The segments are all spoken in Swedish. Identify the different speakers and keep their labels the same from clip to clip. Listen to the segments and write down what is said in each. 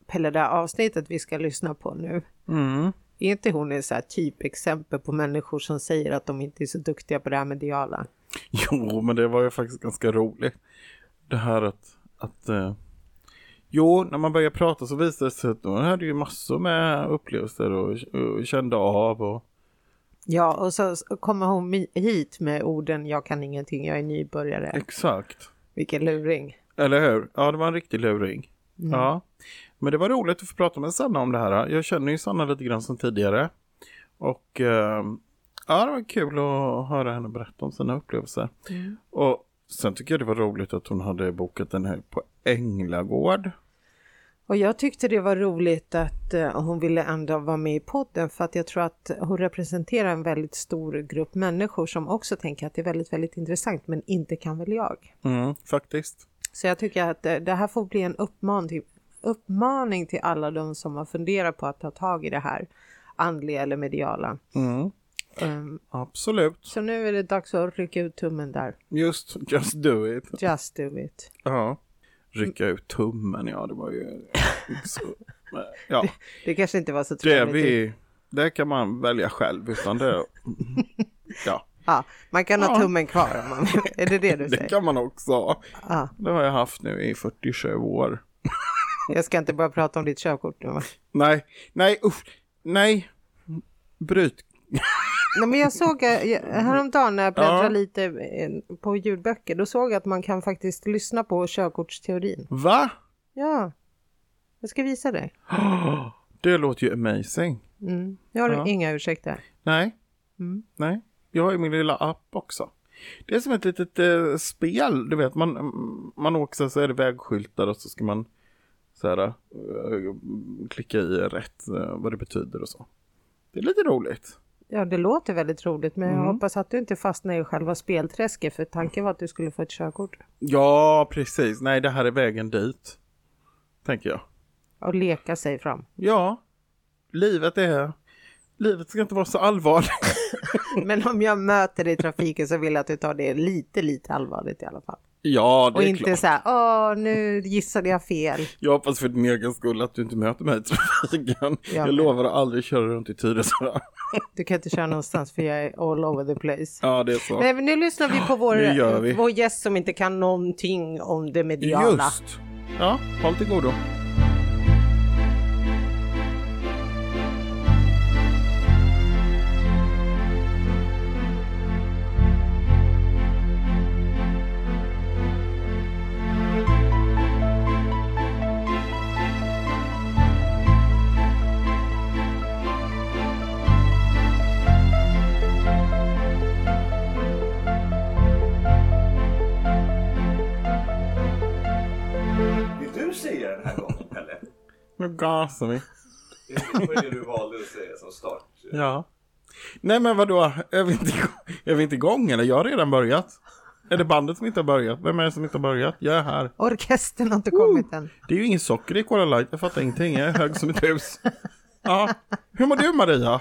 Speaker 1: upp hela det här avsnittet vi ska lyssna på nu.
Speaker 2: Mm.
Speaker 1: Är inte hon ett så här typexempel på människor som säger att de inte är så duktiga på det här mediala?
Speaker 2: Jo, men det var ju faktiskt ganska roligt. Det här att... att eh, jo, när man börjar prata så visar det sig att hon hade ju massor med upplevelser och, och kände av och...
Speaker 1: Ja, och så så kommer hon mi- hit med orden jag kan ingenting, jag är nybörjare.
Speaker 2: Exakt.
Speaker 1: Vilken luring.
Speaker 2: Eller hur? Ja, det var en riktig luring. Ja. Men det var roligt att få prata med Sanna om det här. Jag känner ju Sanna lite grann som tidigare. Och eh, ja, det var kul att höra henne berätta om sina upplevelser. Och sen tycker jag det var roligt att hon hade bokat den här på Änglagård.
Speaker 1: Och jag tyckte det var roligt att eh, hon ville ändå vara med i podden för att jag tror att hon representerar en väldigt stor grupp människor som också tänker att det är väldigt, väldigt intressant men inte kan väl jag.
Speaker 2: Mm, faktiskt.
Speaker 1: Så jag tycker att eh, det här får bli en uppman till, uppmaning till alla de som har funderat på att ta tag i det här andliga eller mediala.
Speaker 2: Mm,
Speaker 1: Ehm,
Speaker 2: absolut.
Speaker 1: så nu är det dags att rycka ut tummen där.
Speaker 2: Just, just do it.
Speaker 1: Just do it.
Speaker 2: Ja. Rycka ut tummen, ja det var ju... Så, ja.
Speaker 1: Det kanske inte var så
Speaker 2: Det, är
Speaker 1: trevligt.
Speaker 2: vi, det kan man välja själv utan det... Ja,
Speaker 1: Ja, man kan ha
Speaker 2: Ja.
Speaker 1: tummen kvar om man Är det det du
Speaker 2: det
Speaker 1: säger?
Speaker 2: kan man också ha.
Speaker 1: Ja.
Speaker 2: Det har jag haft nu i 47 år.
Speaker 1: Jag ska inte börja prata om ditt körkort nu va?
Speaker 2: Nej, nej, usch, nej. Bryt.
Speaker 1: Nej, men jag såg eh, jag- häromdagen när jag bläddrade
Speaker 2: Ja.
Speaker 1: lite eh, på ljudböcker, då såg jag att man kan faktiskt lyssna på körkortsteorin.
Speaker 2: Va?
Speaker 1: Ja, jag ska visa dig.
Speaker 2: Det låter ju amazing.
Speaker 1: Mm. Jag har
Speaker 2: Ja.
Speaker 1: inga ursäkter.
Speaker 2: Nej,
Speaker 1: Mm.
Speaker 2: nej. Jag har ju min lilla app också. Det är som ett litet eh, spel, du vet. Man, mm, man åker så här, så är det vägskyltar och så ska man så här, eh, klicka i rätt eh, vad det betyder och så. Det är lite roligt.
Speaker 1: Ja, det låter väldigt roligt, men
Speaker 2: Mm.
Speaker 1: jag hoppas att du inte fastnar i själva spelträsket, för tanken var att du skulle få ett körkort.
Speaker 2: Ja, precis. Nej, det här är vägen dit. Tänker jag.
Speaker 1: Och leka sig fram.
Speaker 2: Ja, livet är... Livet ska inte vara så allvarligt.
Speaker 1: Men om jag möter dig i trafiken så vill jag att du tar det lite, lite allvarligt i alla fall.
Speaker 2: Ja, det
Speaker 1: Och
Speaker 2: är
Speaker 1: inte
Speaker 2: klart.
Speaker 1: så här, åh, nu gissade jag fel.
Speaker 2: Jag hoppas för din egen skull att du inte möter mig i trafiken.
Speaker 1: Ja,
Speaker 2: jag
Speaker 1: men-
Speaker 2: lovar att aldrig köra runt i Tyresö.
Speaker 1: Du kan inte köra någonstans för jag är all over the place.
Speaker 2: Ja, det är så.
Speaker 1: Nej, men nu lyssnar vi på vår,
Speaker 2: Nu gör vi.
Speaker 1: vår gäst som inte kan någonting om det mediala.
Speaker 2: Just. Ja, håll till godo.
Speaker 3: Vill du säga den här gången Pelle?
Speaker 2: Nu gasar vi.
Speaker 3: Det var det du valde att säga som start.
Speaker 2: Ja. Nej, men vadå? Är vi inte, är vi inte igång eller? Jag har redan börjat. Är det bandet som inte har börjat? Vem är det som inte har börjat? Jag är här.
Speaker 1: Orkestern har inte kommit än.
Speaker 2: Det är ju ingen socker i Cola Light, jag fattar ingenting, jag är hög som ett hus. Ja. Hur mår du Maria?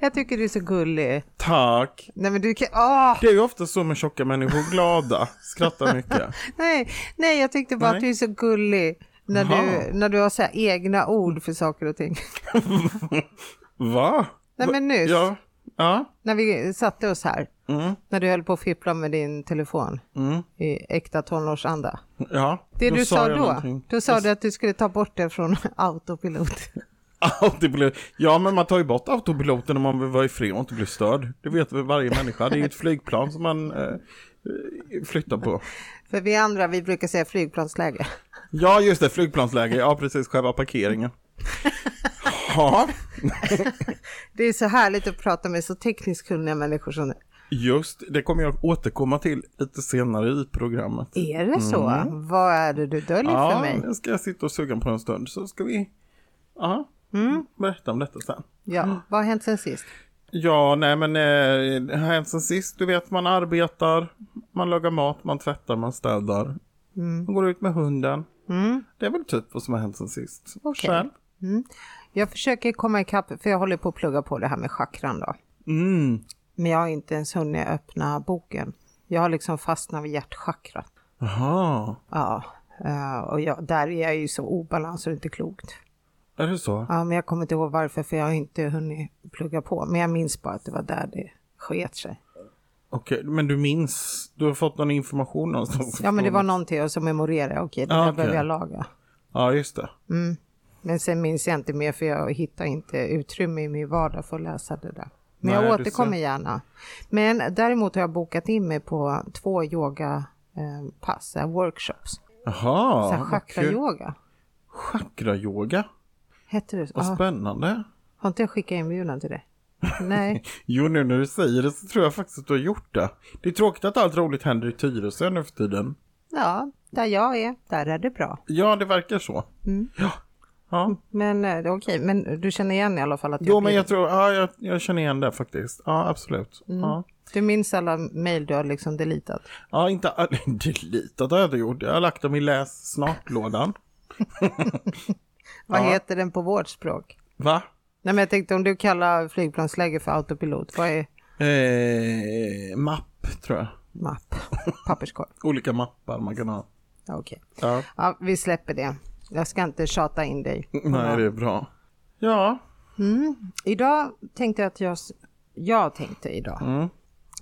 Speaker 1: Jag tycker du är så gullig.
Speaker 2: Tack.
Speaker 1: Nej, men du kan... Åh!
Speaker 2: Det är ju ofta så med tjocka människor, glada, skrattar mycket.
Speaker 1: Nej, nej, jag tyckte bara
Speaker 2: Nej.
Speaker 1: att du är så gullig. När
Speaker 2: Jaha.
Speaker 1: du, när du har så här egna ord för saker och ting.
Speaker 2: Va?
Speaker 1: Nej, men nyss.
Speaker 2: Ja. Mm. Ja.
Speaker 1: När vi satte oss här. När du höll på att fippla med din telefon. I äkta tonårsanda.
Speaker 2: Ja.
Speaker 1: Det du sa
Speaker 2: Mm. jag
Speaker 1: då.
Speaker 2: någonting.
Speaker 1: Då sa du att du skulle ta bort det från autopilot.
Speaker 2: Autopilot. Ja, men man tar ju bort autopiloten om man vill vara i fred och inte bli störd. Det vet väl varje människa. Det är ju ett flygplan som man eh, flyttar på.
Speaker 1: För vi andra, vi brukar säga flygplansläge.
Speaker 2: Ja, just det, flygplansläge. Ja, precis, själva parkeringen. Ja,
Speaker 1: Det är så härligt att prata med så tekniskt kunniga människor som det.
Speaker 2: Just det, kommer jag återkomma till lite senare i programmet.
Speaker 1: Är det så? Vad är det du döljer för
Speaker 2: Mm. Ja,
Speaker 1: mig?
Speaker 2: nu ska jag sitta och suga på en stund så ska vi ja,
Speaker 1: Mm.
Speaker 2: berätta om detta sen.
Speaker 1: Ja, vad har hänt sen sist?
Speaker 2: Ja, nej men eh, det har hänt sen sist, du vet man arbetar, man lagar mat, man tvättar, man städar.
Speaker 1: Mm.
Speaker 2: Man går ut med hunden. Det är väl typ vad som har hänt sen sist.
Speaker 1: Okej.
Speaker 2: Själv?
Speaker 1: Jag försöker komma ikapp, för jag håller på att plugga på det här med chakran då.
Speaker 2: Mm.
Speaker 1: Men jag har inte ens hunnit öppna boken. Jag har liksom fastnat vid hjärtchakrat.
Speaker 2: Jaha.
Speaker 1: Ja, eh, och jag, där är jag ju så obalans så det är inte klokt.
Speaker 2: Är det så?
Speaker 1: Ja, men jag kommer inte ihåg varför för jag har inte hunnit plugga på. Men jag minns bara att det var där det sket sig.
Speaker 2: Okej, men du minns? Du har fått någon information någonstans?
Speaker 1: Ja, men det var någonting och så memorerade jag. Okej, det här
Speaker 2: Ja, okej.
Speaker 1: behöver jag laga.
Speaker 2: Ja, just det.
Speaker 1: Men sen minns jag inte mer för jag hittar inte utrymme i min vardag för att läsa det där. Men
Speaker 2: Nej,
Speaker 1: jag
Speaker 2: du
Speaker 1: återkommer
Speaker 2: ser.
Speaker 1: gärna. Men däremot har jag bokat in mig på två yogapass, eh, workshops.
Speaker 2: Jaha,
Speaker 1: Så här
Speaker 2: vad kul.
Speaker 1: Chakra-yoga.
Speaker 2: Chakrayoga?
Speaker 1: Hette det så?
Speaker 2: Vad
Speaker 1: Ja.
Speaker 2: spännande.
Speaker 1: Har inte jag skickat inbjudan till det? Nej.
Speaker 2: Jo, nu när du säger det så tror jag faktiskt att du har gjort det. Det är tråkigt att allt roligt händer i Tyresö nu för tiden.
Speaker 1: Ja, där jag är, där är det bra.
Speaker 2: Ja, det verkar så.
Speaker 1: Mm.
Speaker 2: Ja. ja.
Speaker 1: Men eh, det är okej, men du känner igen i alla fall att
Speaker 2: Jo, men
Speaker 1: blir-
Speaker 2: jag tror, ja, jag, jag känner igen det faktiskt. Ja, absolut.
Speaker 1: Mm.
Speaker 2: Ja.
Speaker 1: Du minns alla mejl du har liksom deletat?
Speaker 2: ja, inte all- deletat har jag inte gjort. Jag har lagt dem i läs snart-lådan.
Speaker 1: Vad
Speaker 2: Ja.
Speaker 1: heter den på vårt språk?
Speaker 2: Va?
Speaker 1: Nej, men jag tänkte om du kallar flygplansläge för autopilot, vad är
Speaker 2: Eh, mapp, tror jag.
Speaker 1: mapp? Papperskorg?
Speaker 2: Olika mappar man kan ha.
Speaker 1: Ja, Okej.
Speaker 2: Ja.
Speaker 1: Ja, vi släpper det. Jag ska inte tjata in dig.
Speaker 2: Nej, det är bra. Ja,
Speaker 1: Idag tänkte jag att jag... s- Jag tänkte idag.
Speaker 2: Mm.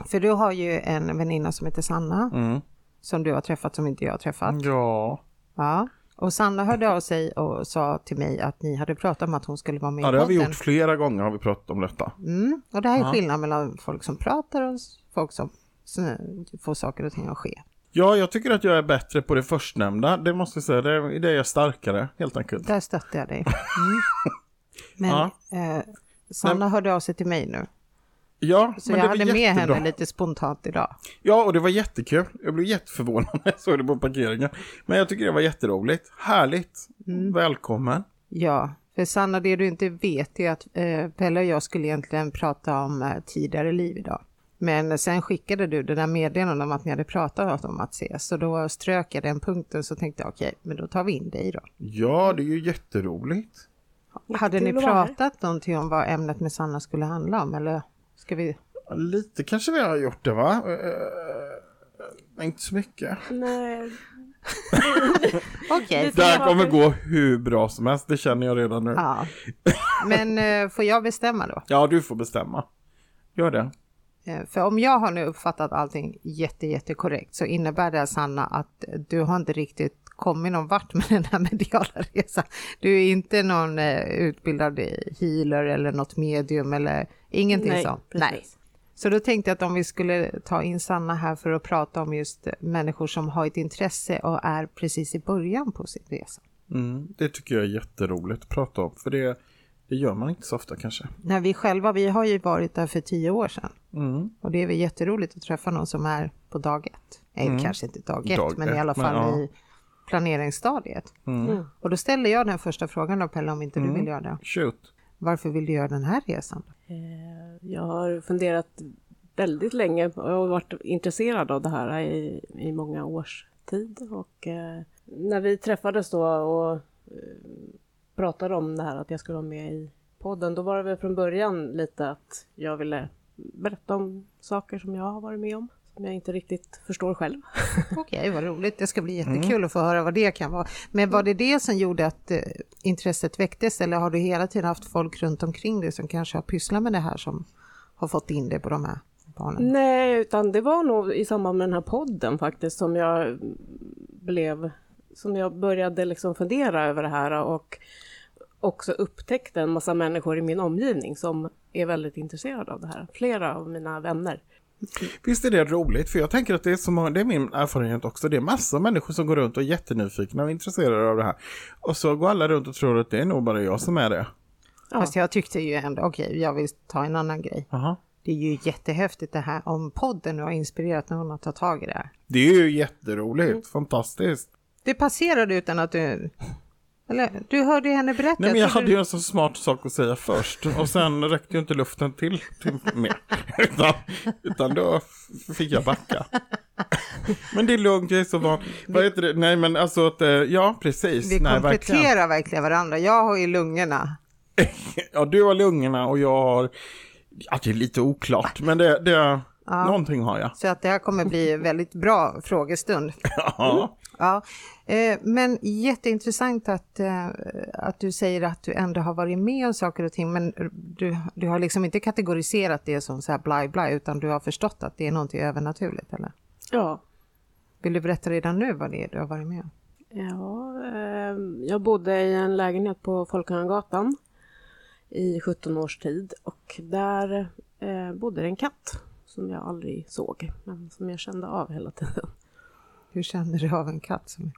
Speaker 1: För du har ju en väninna som heter Sanna.
Speaker 2: Mm.
Speaker 1: Som du har träffat som inte jag har träffat.
Speaker 2: ja.
Speaker 1: Ja. Och Sanna hörde av sig och sa till mig att ni hade pratat om att hon skulle vara med
Speaker 2: Ja, det
Speaker 1: i
Speaker 2: har vi
Speaker 1: podden.
Speaker 2: gjort flera gånger har vi pratat om detta.
Speaker 1: Mm. Och det här är skillnad mellan folk som pratar och s- folk som s- får saker och ting att ske.
Speaker 2: Ja, jag tycker att jag är bättre på det förstnämnda. Det måste jag säga, det är, det är jag starkare helt enkelt.
Speaker 1: Där stötte jag dig. Mm. Men
Speaker 2: Ja.
Speaker 1: eh, Sanna hörde av sig till mig nu.
Speaker 2: Ja,
Speaker 1: Så
Speaker 2: men
Speaker 1: jag
Speaker 2: det
Speaker 1: hade
Speaker 2: var
Speaker 1: med
Speaker 2: jättebra.
Speaker 1: henne lite spontant idag.
Speaker 2: Ja, och det var jättekul. Jag blev jätteförvånad när jag såg det på parkeringen. Men jag tycker det var jätteroligt. Härligt. Välkommen.
Speaker 1: Ja, för Sanna, det du inte vet är att eh, Pelle och jag skulle egentligen prata om eh, tidigare liv idag. Men sen skickade du det där meddelandet om att ni hade pratat om att ses. Så då strök jag den punkten så tänkte jag okej, men då tar vi in dig då.
Speaker 2: Ja, det är ju jätteroligt.
Speaker 1: Hade ni
Speaker 4: till att vara här.
Speaker 1: pratat någonting om vad ämnet med Sanna skulle handla om eller ska vi?
Speaker 2: Lite kanske vi har gjort det, va? Eh, inte så mycket.
Speaker 4: Nej,
Speaker 1: Okej.
Speaker 2: Det här kommer gå hur bra som helst, det känner jag redan nu.
Speaker 1: Ja. Men eh, får jag bestämma då?
Speaker 2: Ja, du får bestämma. Gör det.
Speaker 1: Eh, För om jag har nu uppfattat allting jätte, jätte korrekt så innebär det Sanna att du har inte riktigt kommit någon vart med den här mediala resan. Du är inte någon eh, utbildad healer eller något medium eller ingenting
Speaker 4: Nej,
Speaker 1: sånt.
Speaker 4: precis.
Speaker 1: Så då tänkte jag att om vi skulle ta in Sanna här för att prata om just människor som har ett intresse och är precis i början på sin resa.
Speaker 2: Mm, det tycker jag är jätteroligt att prata om, för det, det gör man inte så ofta kanske.
Speaker 1: När vi själva, vi har ju varit där för tio år sedan.
Speaker 2: Mm.
Speaker 1: Och det är väl jätteroligt att träffa någon som är på dag ett. Nej, kanske inte dag ett,
Speaker 2: Mm. Dag
Speaker 1: men i
Speaker 2: ett,
Speaker 1: alla
Speaker 2: men
Speaker 1: fall
Speaker 2: ja.
Speaker 1: i planeringsstadiet.
Speaker 4: Mm.
Speaker 1: Och då ställer jag den första frågan då, Pelle, om inte
Speaker 2: Mm.
Speaker 1: du vill göra det.
Speaker 2: Shoot.
Speaker 1: Varför vill du göra den här resan?
Speaker 4: jag har funderat väldigt länge och jag har varit intresserad av det här i, i många års tid. Och eh, när vi träffades då och eh, pratade om det här att jag skulle vara med i podden, då var det väl från början lite att jag ville berätta om saker som jag har varit med om, som jag inte riktigt förstår själv.
Speaker 1: Okej, vad roligt. Det ska bli
Speaker 2: Mm.
Speaker 1: jättekul att få höra vad det kan vara. Men var det det som gjorde att eh, intresset väcktes eller har du hela tiden haft folk runt omkring dig som kanske har pysslat med det här som har fått in dig på de här
Speaker 4: Mm.
Speaker 1: banorna?
Speaker 4: Nej, utan det var nog i samband med den här podden faktiskt som jag blev, som jag började liksom fundera över det här och också upptäckte en massa människor i min omgivning som är väldigt intresserade av det här. Flera av mina vänner.
Speaker 2: Visst är det roligt? För jag tänker att det är så många, det är min erfarenhet också, det är massa människor som går runt och är jättenyfikna och intresserade av det här. Och så går alla runt och tror att det är nog bara jag som är det.
Speaker 4: Ja.
Speaker 1: Fast jag tyckte ju ändå, okej, jag vill ta en annan grej.
Speaker 2: Aha.
Speaker 1: Det är ju jättehäftigt det här om podden har inspirerat någon att ta tag i det här.
Speaker 2: Det är ju jätteroligt,
Speaker 1: Mm.
Speaker 2: fantastiskt.
Speaker 1: Det passerade utan att du... Eller, du hörde henne berätta.
Speaker 2: Nej men jag
Speaker 1: trodde
Speaker 2: hade ju en så smart sak att säga först och sen räckte ju inte luften till, till mer. Utan, utan då f- fick jag backa. Men det är lugnt, jag är så van. Vad heter det? Nej men alltså att, eh, ja precis.
Speaker 1: Vi
Speaker 2: Nej,
Speaker 1: kompletterar
Speaker 2: verkligen.
Speaker 1: verkligen. varandra. Jag har ju lungorna.
Speaker 2: Ja, du har lungorna och jag har... Ja, det är lite oklart, men det... det... Någonting har jag.
Speaker 1: Så att det här kommer bli en väldigt bra frågestund.
Speaker 2: Ja.
Speaker 1: Ja, eh, men jätteintressant att, eh, att du säger att du ändå har varit med om saker och ting, men du, du har liksom inte kategoriserat det som så här blaj blaj, utan du har förstått att det är någonting övernaturligt, eller?
Speaker 4: Ja,
Speaker 1: Vill du berätta redan nu vad det är du har varit med om?
Speaker 4: Ja, eh, jag bodde i en lägenhet på Folkungagatan i 17 års tid och där eh, bodde det en katt som jag aldrig såg, men som jag kände av hela tiden.
Speaker 1: Hur känner du av en katt? Som...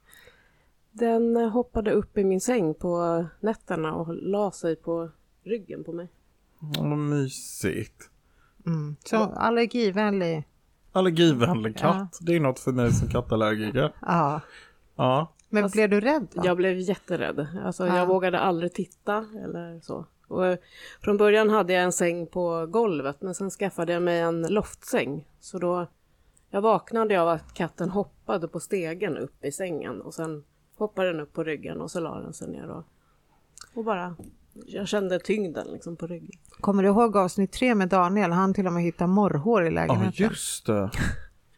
Speaker 4: Den eh, hoppade upp i min säng på nätterna och la sig på ryggen på mig.
Speaker 2: Vad mysigt.
Speaker 1: Mm. Så allergivänlig.
Speaker 2: Allergivänlig katt. Det är något för mig som kattallergiker.
Speaker 1: Ja.
Speaker 2: Ja.
Speaker 1: Men
Speaker 4: Fast-
Speaker 1: blev du rädd? Då?
Speaker 4: Jag blev jätterädd. Alltså,
Speaker 1: Ja.
Speaker 4: Jag vågade aldrig titta eller så. Och, eh, från början hade jag en säng på golvet men sen skaffade jag mig en loftsäng. Så då jag vaknade av att katten hoppade på stegen upp i sängen och sen hoppade den upp på ryggen och så la den sig ner och, och bara jag kände tyngden liksom på ryggen.
Speaker 1: Kommer du ihåg avsnitt tre med Daniel? Han till och med hittade morrhår i
Speaker 2: Ja,
Speaker 1: lägenheten.
Speaker 2: just det.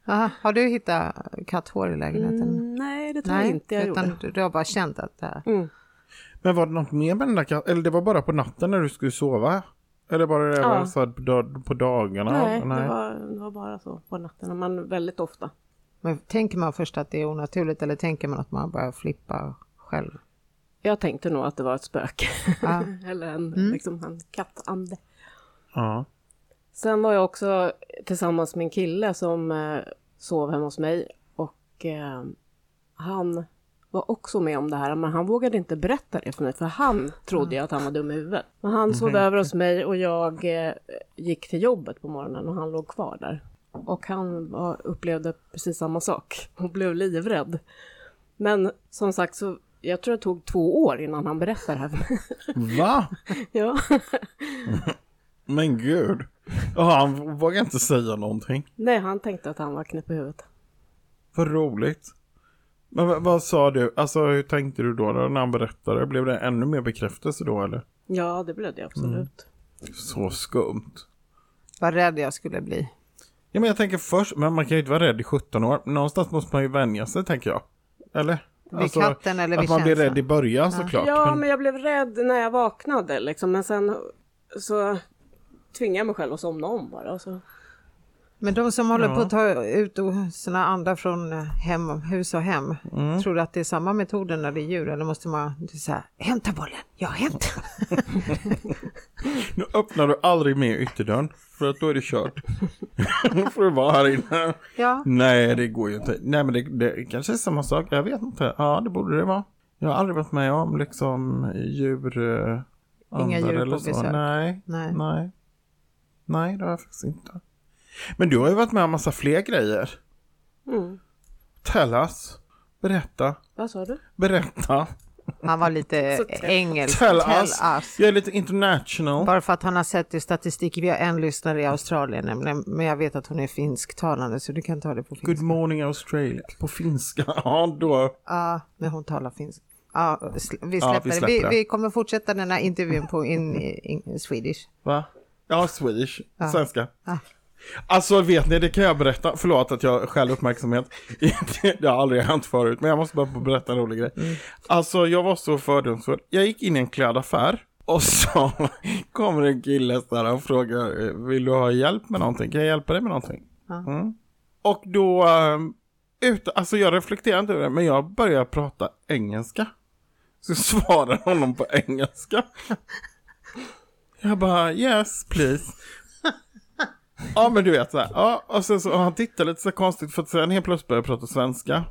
Speaker 1: Aha, har du hittat katthår i lägenheten?
Speaker 4: Mm, nej, det tror jag inte jag
Speaker 1: utan
Speaker 4: gjorde.
Speaker 1: du- du har bara känt att det här.
Speaker 4: Mm.
Speaker 2: Men var det något mer med den där katten? Eller det var bara på natten när du skulle sova? Eller bara det var
Speaker 4: Ja.
Speaker 2: så här på, dag- på dagarna?
Speaker 4: nej, Det, var, det var bara så på natten, men väldigt ofta.
Speaker 1: Men tänker man först att det är onaturligt eller tänker man att man börjar flippa själv?
Speaker 4: Jag tänkte nog att det var ett spöke.
Speaker 1: Ja.
Speaker 4: Eller en, liksom, en kattande.
Speaker 2: Ja.
Speaker 4: Sen var jag också tillsammans med en kille som eh, sov hemma hos mig och eh, han var också med om det här men han vågade inte berätta det för mig för han trodde ju att han var dum i huvudet. Men han sov över hos mig och jag eh, gick till jobbet på morgonen och han låg kvar där. Och han var, upplevde precis samma sak och blev livrädd. Men som sagt så jag tror det tog två år innan han berättade det här för mig.
Speaker 2: Va?
Speaker 4: ja.
Speaker 2: Men gud. Ja, han vågar inte säga någonting.
Speaker 4: Nej, han tänkte att han var knäpp i huvudet.
Speaker 2: Vad roligt. Men vad, vad sa du? Alltså hur tänkte du då, då när han berättade? Blev det ännu mer bekräftelse då eller?
Speaker 4: Ja, det blev det absolut.
Speaker 2: Så skumt.
Speaker 1: Vad rädd jag skulle bli.
Speaker 2: Ja men jag tänker först, men man kan ju inte vara rädd i 17 år. Någonstans måste man ju vänja sig tänker jag. Eller? Alltså,
Speaker 1: Vid katten eller
Speaker 2: Att
Speaker 1: vid
Speaker 2: man blir
Speaker 1: känslan.
Speaker 2: rädd i början såklart.
Speaker 4: Ja,
Speaker 2: men-
Speaker 4: men jag blev rädd när jag vaknade liksom, men sen så tvingade jag mig själv att somna om bara. Så.
Speaker 1: Men de som håller på att ta ut och sina andar från hem, hus och hem,
Speaker 4: Mm.
Speaker 1: tror du att det är samma metoder när det är djur? Eller måste man säga hämta bollen, jag hämtar.
Speaker 2: Nu öppnar du aldrig mer ytterdörren för att då är det kört. Nu får du vara här inne.
Speaker 1: ja,
Speaker 2: Nej, det går ju inte. Nej, men det, det kanske är samma sak. Jag vet inte. Ja, det borde det vara. Jag har aldrig varit med om liksom djur. eh, andar
Speaker 1: djur på
Speaker 2: eller så.
Speaker 1: besök.
Speaker 2: Nej,
Speaker 1: Nej.
Speaker 2: nej. Nej. Nej, det har jag faktiskt inte. Men du har ju varit med om massa fler grejer.
Speaker 4: Mm.
Speaker 2: Tell us. Berätta.
Speaker 4: Vad sa du?
Speaker 2: Berätta.
Speaker 1: han var lite
Speaker 4: Så tell-
Speaker 1: engelsk.
Speaker 2: Tell,
Speaker 1: Tell
Speaker 2: us.
Speaker 1: us.
Speaker 2: Jag är lite international.
Speaker 1: Bara för att han har sett i statistik, vi har en lyssnare i Australien nämligen, men jag vet att hon är finsktalande så du kan ta det på finska.
Speaker 2: Good morning Australia. På finska. Ja, då.
Speaker 1: Ja, men hon talar finska. Ja, sl- vi släpper,
Speaker 2: Ja, vi
Speaker 1: vi,
Speaker 2: släpper
Speaker 1: vi,
Speaker 2: det.
Speaker 1: kommer fortsätta den här intervjun på in, in, Swedish.
Speaker 2: Va? Ja, Swedish. Svenska.
Speaker 1: Ja.
Speaker 2: Alltså vet ni, det kan jag berätta. Förlåt att jag skäl uppmärksamhet. det har aldrig hänt förut, men jag måste bara få berätta en rolig grej.
Speaker 1: Mm.
Speaker 2: Alltså jag var så fördomsfull. Jag gick in i en klädaffär och så kommer en kille så här och frågar, eh, vill du ha hjälp med någonting? Kan jag hjälpa dig med någonting? Mm. Och då, eh, ut, alltså jag reflekterar inte över det, men jag börjar prata engelska. Så svarar honom på engelska. Jag bara yes please. ja men du vet så här. Ja, och sen så och han tittar lite så här konstigt för att sen helt plötsligt börjar jag prata svenska.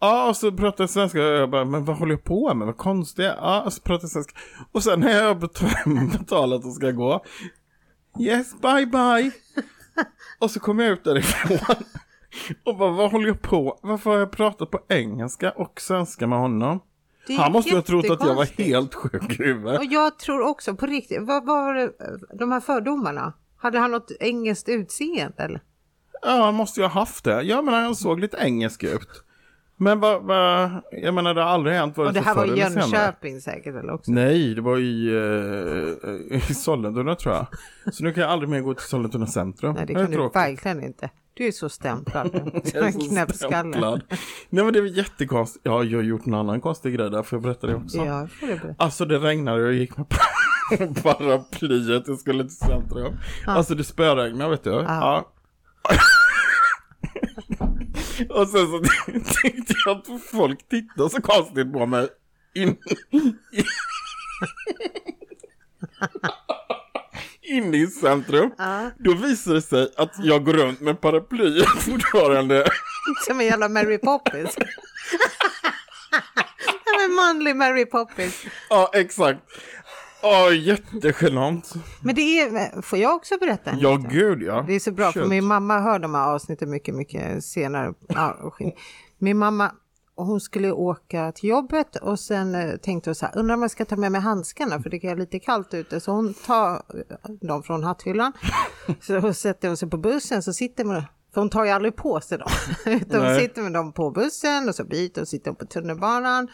Speaker 2: Ja och så pratar jag svenska och jag bara men vad håller jag på med? Vad konstigt. Ja och så pratar jag svenska. Och sen när jag har bet- betalat och ska gå. Yes bye bye. och så kommer jag ut därifrån. och bara vad håller jag på? Varför har jag pratat på engelska och svenska med honom?
Speaker 1: Det är
Speaker 2: Han måste ju ha trott att jag var
Speaker 1: jättekonstigt.
Speaker 2: helt sjuk i huvudet.
Speaker 1: Och jag tror också på riktigt, vad vad var det, de här fördomarna? Hade han något engelskt utseende eller?
Speaker 2: Ja, han måste ju ha haft det. Ja, men han såg lite engelsk ut. Men vad, vad, jag menar det har aldrig hänt vare
Speaker 1: Och det
Speaker 2: sig
Speaker 1: här var
Speaker 2: förr
Speaker 1: i
Speaker 2: eller senare.
Speaker 1: Jönköping säkert eller också?
Speaker 2: Nej, det var i, eh, i Sollentuna tror jag. Så nu kan jag aldrig mer gå till Sollentuna centrum.
Speaker 1: Nej, det
Speaker 2: är
Speaker 1: kan du
Speaker 2: tråkigt.
Speaker 1: verkligen inte. Du är så stämplad.
Speaker 2: Jag är
Speaker 1: En
Speaker 2: så
Speaker 1: knäppskalle.
Speaker 2: stämplad. Nej men det var jättekonstigt. Ja, jag har gjort en annan konstig grej där, för jag berättade det också.
Speaker 1: Ja, får du berätta.
Speaker 2: Alltså det regnade och jag gick med paraplyet, jag skulle till centrum. Alltså det spöregnade vet du. Ja. och sen så tänkte jag att folk tittade så konstigt på mig. In... Inne i centrum. Då visar det sig att jag går runt med paraplyet fortfarande.
Speaker 1: Som en jävla Mary Poppins. Nej, men manlig Mary Poppins.
Speaker 2: Ja, exakt. Ja, jättegenant.
Speaker 1: Men det är, får jag också berätta en
Speaker 2: Ja,
Speaker 1: liten?
Speaker 2: gud ja.
Speaker 1: Det är så bra, för
Speaker 2: Kör.
Speaker 1: min mamma hör de här avsnitten mycket, mycket senare. Ja, och skit. Min mamma, hon skulle åka till jobbet och sen eh, tänkte hon så här, undrar om jag ska ta med mig handskarna för det är lite kallt ute. Så hon tar eh, dem från hatthyllan, så sätter hon sig på bussen, så sitter man för hon tar ju aldrig på sig dem. Utan hon
Speaker 2: Nej.
Speaker 1: sitter med dem på bussen och så byter och sitter hon på tunnelbanan.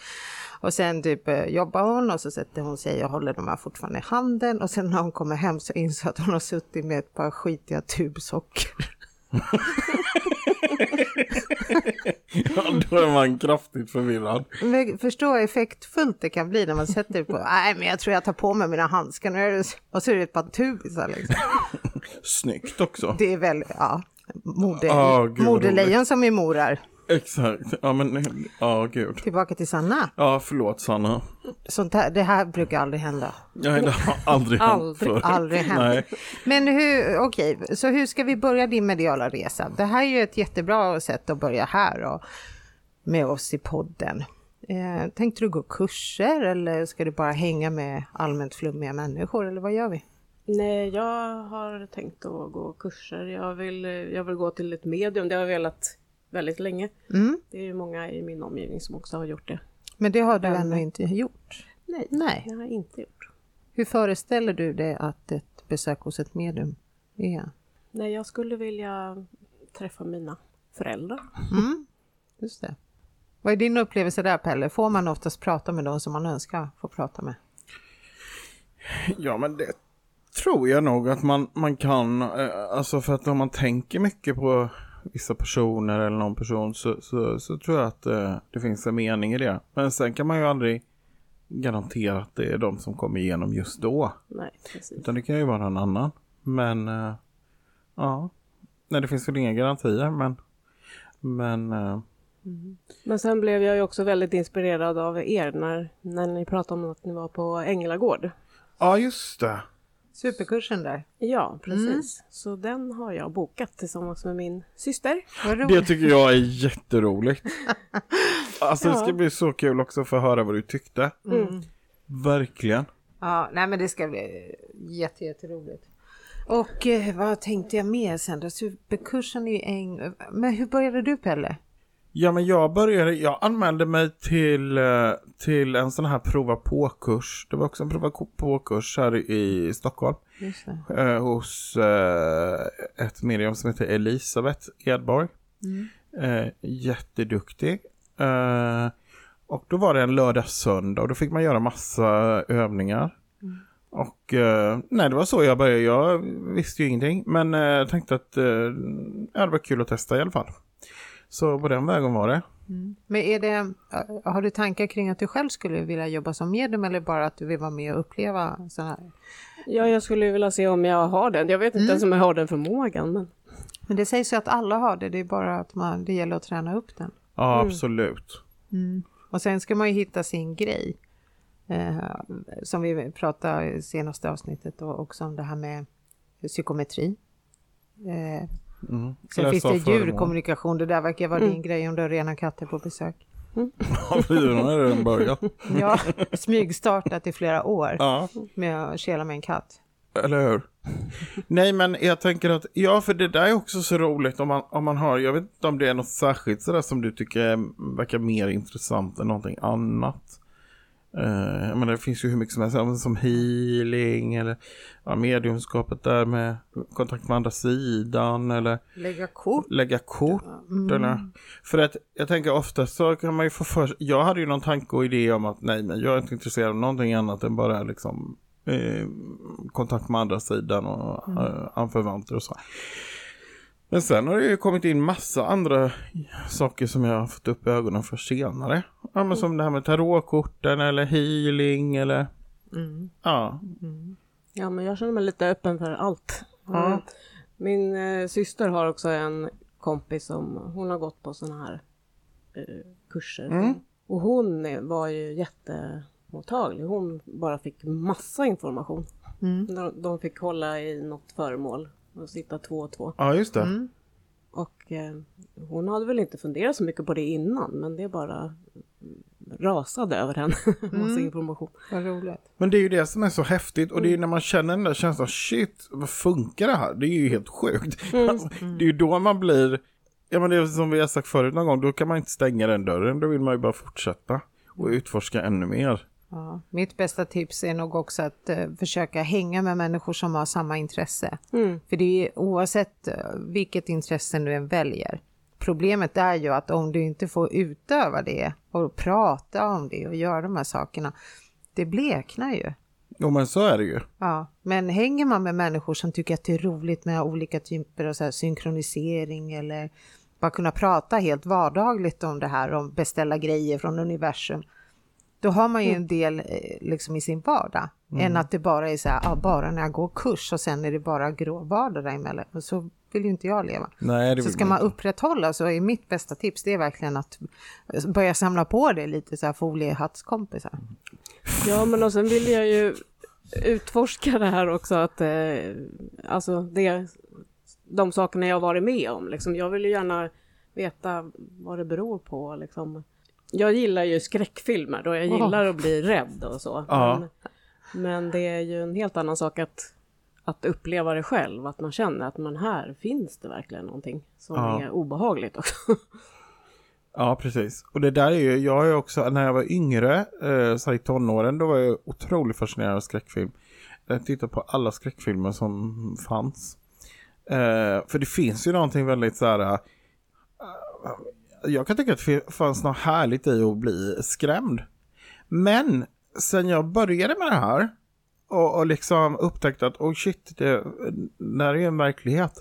Speaker 1: Och sen typ eh, jobbar hon och så sätter hon sig och håller de här fortfarande i handen. Och sen när hon kommer hem så inser jag att hon har suttit med ett par skitiga tubsockor.
Speaker 2: Ja, då är man kraftigt förvirrad.
Speaker 1: Men förstå hur effektfullt det kan bli när man sätter på, nej men jag tror jag tar på mig mina handskar nu. är det- Och så är det ett par tubisar liksom.
Speaker 2: Snyggt också.
Speaker 1: Det är väl, ja, mode,
Speaker 2: Ah, gud, vad
Speaker 1: modelejon som är morar.
Speaker 2: Exakt. Ja, men ja, gud.
Speaker 1: Tillbaka till Sanna.
Speaker 2: Ja, förlåt Sanna.
Speaker 1: Sånt här, det här brukar aldrig hända.
Speaker 2: Nej, det har aldrig hänt
Speaker 4: Aldrig,
Speaker 2: förut.
Speaker 1: Aldrig hänt.
Speaker 2: Nej.
Speaker 1: Men hur, okej, så hur ska vi börja din mediala resa? Det här är ju ett jättebra sätt att börja här och med oss i podden. Eh, tänkte du gå kurser eller ska du bara hänga med allmänt flummiga människor eller vad gör vi?
Speaker 4: Nej, jag har tänkt att gå kurser. Jag vill, jag vill gå till ett medium. Det har jag velat väldigt länge. Det är ju många i min omgivning som också har gjort det.
Speaker 1: Men det har du ännu inte gjort.
Speaker 4: Nej,
Speaker 1: Nej.
Speaker 4: det har jag inte gjort.
Speaker 1: Hur föreställer du dig att ett besök hos ett medium är?
Speaker 4: Nej, jag skulle vilja träffa mina föräldrar.
Speaker 1: Just det. Vad är din upplevelse där Pelle? Får man oftast prata med de som man önskar få prata med?
Speaker 2: Ja, men det tror jag nog att man, man kan. eh, Alltså för att om man tänker mycket på vissa personer eller någon person så, så, så tror jag att eh, det finns en mening i det. Men sen kan man ju aldrig garantera att det är de som kommer igenom just då.
Speaker 4: Nej, precis.
Speaker 2: Utan det kan ju vara någon annan. Men eh, ja. Nej det finns väl inga garantier men. Men eh,
Speaker 4: Men sen blev jag ju också väldigt inspirerad av er när, när ni pratade om att ni var på Änglagård.
Speaker 2: ja just det.
Speaker 1: Superkursen där.
Speaker 4: Ja, precis. Så den har jag bokat tillsammans med min syster.
Speaker 1: Vad
Speaker 2: Det
Speaker 1: roligt.
Speaker 2: tycker jag är jätteroligt. Alltså det ska bli så kul också för att höra vad du tyckte. Verkligen.
Speaker 1: Ja, nej men det ska bli jätte, jätteroligt. Och eh, vad tänkte jag mer sen då? Superkursen är ju en... Men hur började du Pelle?
Speaker 2: Ja men jag började, jag anmälde mig till, eh, till en sån här prova på-kurs. Det var också en prova på-kurs här i Stockholm.
Speaker 1: Just det.
Speaker 2: eh, hos eh, ett medium som heter Elisabeth Edborg. Eh, jätteduktig. Eh, och då var det en lördag-söndag och då fick man göra massa övningar. Och eh, nej, det var så jag började. Jag visste ju ingenting, men eh, jag tänkte att eh, ja, det var kul att testa i alla fall. Så på den vägen var det.
Speaker 1: Men är det, eh, har du tankar kring att du själv skulle vilja jobba som medium eller bara att du vill vara med och uppleva så här?
Speaker 4: Ja, jag skulle vilja se om jag har den. Jag vet inte ens om jag har den förmågan. Men...
Speaker 1: Men det sägs ju att alla har det, det är bara att man, det gäller att träna upp den.
Speaker 2: Ja, absolut.
Speaker 1: Och sen ska man ju hitta sin grej. Eh, som vi pratade i senaste avsnittet och också om det här med psykometri. Eh, Sen
Speaker 2: Läsa
Speaker 1: finns det
Speaker 2: föremål.
Speaker 1: djurkommunikation, det där verkar vara din grej om du har rena katter på besök.
Speaker 2: Ja, fyran har redan börjat.
Speaker 1: Jag har smygstartat i flera år
Speaker 2: Ja.
Speaker 1: med att kela med en katt.
Speaker 2: Eller hur? Nej, men jag tänker att, ja, för det där är också så roligt om man, om man har, jag vet inte om det är något särskilt sådär som du tycker är- verkar mer intressant än någonting annat. Uh, jag menar, det finns ju hur mycket som helst, ja, men som healing eller ja, mediumskapet där med kontakt med andra sidan eller
Speaker 1: Lägga kort.
Speaker 2: lägga kort eller? För att jag tänker ofta så kan man ju få för sig- jag hade ju någon tanke och idé om att nej men jag är inte intresserad av någonting annat än bara liksom eh, kontakt med andra sidan och eh, anförvanter och så. Men sen har det ju kommit in massa andra saker som jag har fått upp i ögonen för senare. Ja, men som det här med tarotkorten eller healing eller...
Speaker 1: Mm.
Speaker 2: Ja,
Speaker 4: Ja, men jag känner mig lite öppen för allt. Mm. Min eh, syster har också en kompis som hon har gått på sådana här eh, kurser. Och hon eh, var ju jättemottaglig. Hon bara fick massa information. De, de fick hålla i något föremål och sitta två och två.
Speaker 2: ja just det.
Speaker 4: Och eh, hon hade väl inte funderat så mycket på det innan, men det bara mm, rasade över henne. massa information.
Speaker 1: Vad roligt.
Speaker 2: Men det är ju det som är så häftigt och det är ju när man känner den där känslan, shit, vad funkar det här? Det är ju helt sjukt. Alltså, det är ju då man blir, ja men det är som vi har sagt förut någon gång, då kan man inte stänga den dörren, då vill man ju bara fortsätta och utforska ännu mer.
Speaker 1: Ja. Mitt bästa tips är nog också att eh, försöka hänga med människor som har samma intresse. För det är oavsett eh, vilket intresse du än väljer. Problemet är ju att om du inte får utöva det och prata om det och göra de här sakerna, det bleknar ju.
Speaker 2: Jo men så är det ju.
Speaker 1: Ja, men hänger man med människor som tycker att det är roligt med olika typer av så här synkronisering eller bara kunna prata helt vardagligt om det här, om beställa grejer från universum, då har man ju
Speaker 2: Mm.
Speaker 1: en del eh, liksom i sin vardag. Än att det bara är så här, ah, bara när jag går kurs och sen är det bara grå vardag däremellan. Och så vill ju inte jag leva.
Speaker 2: Nej, det
Speaker 1: Så
Speaker 2: vill
Speaker 1: ska
Speaker 2: man
Speaker 1: man upprätthålla så är mitt bästa tips det är verkligen att börja samla på dig lite så här foliehattskompisar.
Speaker 4: Ja, men och sen vill jag ju utforska det här också att eh, alltså det, de sakerna jag har varit med om liksom. Jag vill ju gärna veta vad det beror på liksom. Jag gillar ju skräckfilmer då jag gillar att bli rädd och så.
Speaker 2: Ja.
Speaker 4: Men, men det är ju en helt annan sak att, att uppleva det själv, att man känner att man här finns det verkligen någonting som
Speaker 2: Ja.
Speaker 4: är obehagligt också.
Speaker 2: Ja, precis. Och det där är ju, jag är ju också, när jag var yngre, eh, så här i tonåren, då var jag otroligt fascinerad av skräckfilm. Jag tittade på alla skräckfilmer som fanns. Eh, för det finns ju någonting väldigt så här, eh, jag kan tycka att det fanns något härligt i att bli skrämd. Men sen jag började med det här och, och liksom upptäckte att oh shit, det, det här är ju en verklighet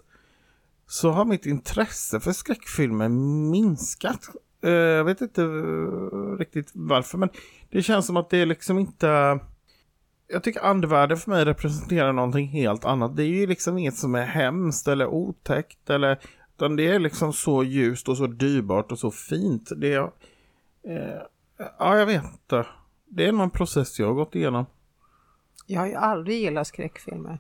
Speaker 2: så har mitt intresse för skräckfilmer minskat. Eh, Jag vet inte eh, riktigt varför, men det känns som att det är liksom inte... Jag tycker andevärlden för mig representerar någonting helt annat. Det är ju liksom inget som är hemskt eller otäckt eller... Utan det är liksom så ljust och så dyrbart och så fint. Det är... Eh, ja, jag vet inte. Det är någon process jag har gått igenom.
Speaker 1: Jag har ju aldrig gillat skräckfilmer.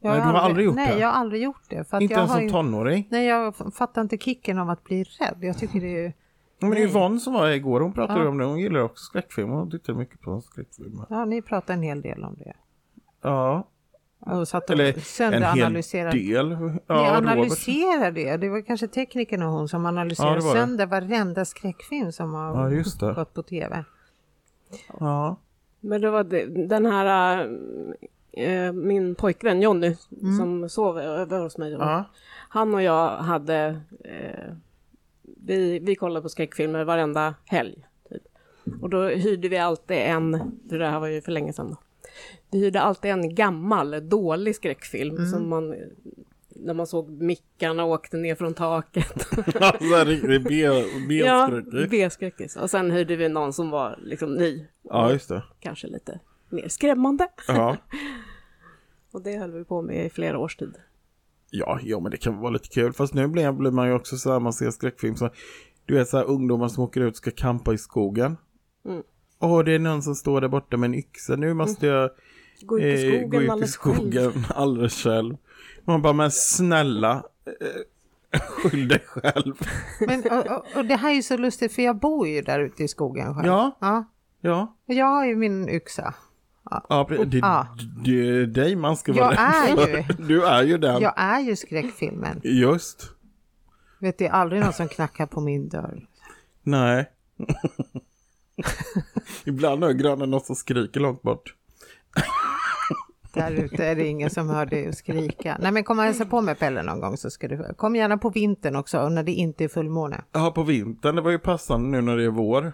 Speaker 2: Nej, du har aldrig gjort
Speaker 1: nej,
Speaker 2: det?
Speaker 1: jag har aldrig gjort det. För att
Speaker 2: inte
Speaker 1: jag
Speaker 2: ens
Speaker 1: har
Speaker 2: som
Speaker 1: ju-
Speaker 2: tonåring.
Speaker 1: Nej, jag f- fattar inte kicken av att bli rädd. Jag tycker det är ju...
Speaker 2: Men Yvonne som var här igår, hon pratade om det. Hon gillar också skräckfilmer. Hon tittar mycket på skräckfilmer.
Speaker 1: Ja, ni pratar en hel del om det.
Speaker 2: Ja,
Speaker 1: Och satt och
Speaker 2: eller en
Speaker 1: sönderanalyserade.
Speaker 2: hel del.
Speaker 1: ni
Speaker 2: Ja, Robert.
Speaker 1: analyserar det. Det var kanske tekniken och hon som
Speaker 2: Ja,
Speaker 1: analyserade
Speaker 2: det var det.
Speaker 1: sönder varenda skräckfilm som har
Speaker 2: Ja, just det.
Speaker 1: gått på tv.
Speaker 2: Ja.
Speaker 4: Men det var det, den här, eh, min pojkvän Jonny som sov över hos mig.
Speaker 2: Ja.
Speaker 4: Han och jag hade, eh, vi, vi kollade på skräckfilmer varenda helg. Typ. Och då hyrde vi alltid en, det där var ju för länge sedan då. Vi hyrde alltid en gammal, dålig skräckfilm som man, när man såg mickarna åkte ner från taket.
Speaker 2: Alltså en riktig benskräckig.
Speaker 4: B-skräckis. Och sen hyrde vi någon som var liksom ny,
Speaker 2: Ja, just det.
Speaker 4: kanske lite mer skrämmande.
Speaker 2: Ja.
Speaker 4: Och det höll vi på med i flera års tid.
Speaker 2: Ja, jo, men det kan vara lite kul. Fast nu blir blir man ju också så här, man ser skräckfilm. Så, du vet så här ungdomar som åker ut och ska kampa i skogen.
Speaker 4: Mm.
Speaker 2: Åh, det är någon som står där borta med en yxa. Nu måste jag
Speaker 4: Gå ut i
Speaker 2: eh,
Speaker 4: skogen
Speaker 2: gå ut i
Speaker 4: alldeles själv.
Speaker 2: skogen alldeles själv. Man bara, men snälla. Eh, skyll dig själv.
Speaker 1: Men, och, och, och det här är ju så lustigt för jag bor ju där ute i skogen själv.
Speaker 2: Ja.
Speaker 1: ja.
Speaker 2: Ja.
Speaker 1: Och Jag har ju min yxa.
Speaker 2: Ja, pre- det,
Speaker 1: Ja.
Speaker 2: det är dig man ska vara
Speaker 1: ah. Jag är
Speaker 2: rädd
Speaker 1: ju-
Speaker 2: för. Du är ju den.
Speaker 1: Jag är ju skräckfilmen.
Speaker 2: Just.
Speaker 1: Vet, det är aldrig någon som knackar på min dörr.
Speaker 2: Nej. Ibland hör grannen något som skriker långt bort.
Speaker 1: Där ute är det ingen som hör dig skrika. Nej men kom och hälsa på mig Pelle någon gång så ska du Kom gärna på vintern också och när det inte är fullmåne.
Speaker 2: Ja, på vintern. Det var ju passande nu när det är vår.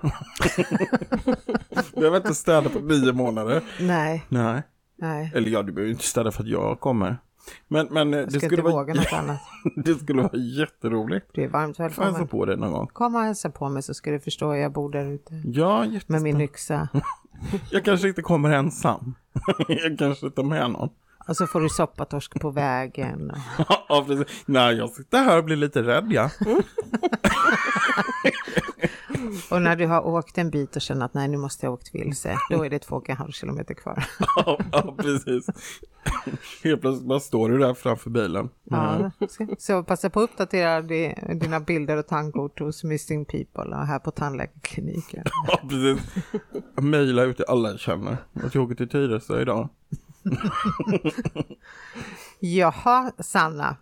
Speaker 2: Behöver inte städa på nio månader.
Speaker 1: Nej,
Speaker 2: Nej.
Speaker 1: nej.
Speaker 2: Eller ja, du behöver ju inte städa för att jag kommer. Men, men eh,
Speaker 1: Jag
Speaker 2: det,
Speaker 1: ska
Speaker 2: skulle
Speaker 1: inte
Speaker 2: vara,
Speaker 1: våga något annat.
Speaker 2: det skulle vara jätteroligt.
Speaker 1: Du är varmt
Speaker 2: Får jag hälsa
Speaker 1: välkommen.
Speaker 2: på dig någon gång?
Speaker 1: Kom och hälsa på mig så ska du förstå hur jag bor där ute.
Speaker 2: Ja, jätte...
Speaker 1: Med min yxa.
Speaker 2: jag kanske inte kommer ensam. jag kanske tar med någon.
Speaker 1: Och så får du soppatorsk på vägen. Och...
Speaker 2: ja, precis. Nej, jag sitter här och blir lite rädd, ja.
Speaker 1: Och när du har åkt en bit och känner att nej nu måste jag ha åkt vilse, då är det två och en halv kilometer kvar.
Speaker 2: ja, ja, precis. Helt plötsligt bara står du där framför bilen.
Speaker 1: Ja, så- så passa på att uppdatera di- dina bilder och tandkort hos Missing People och här på tandläkarkliniken.
Speaker 2: Ja, precis. Mejla ut till alla jag känner. Att jag åker till Tyresö idag.
Speaker 1: Jaha, Sanna.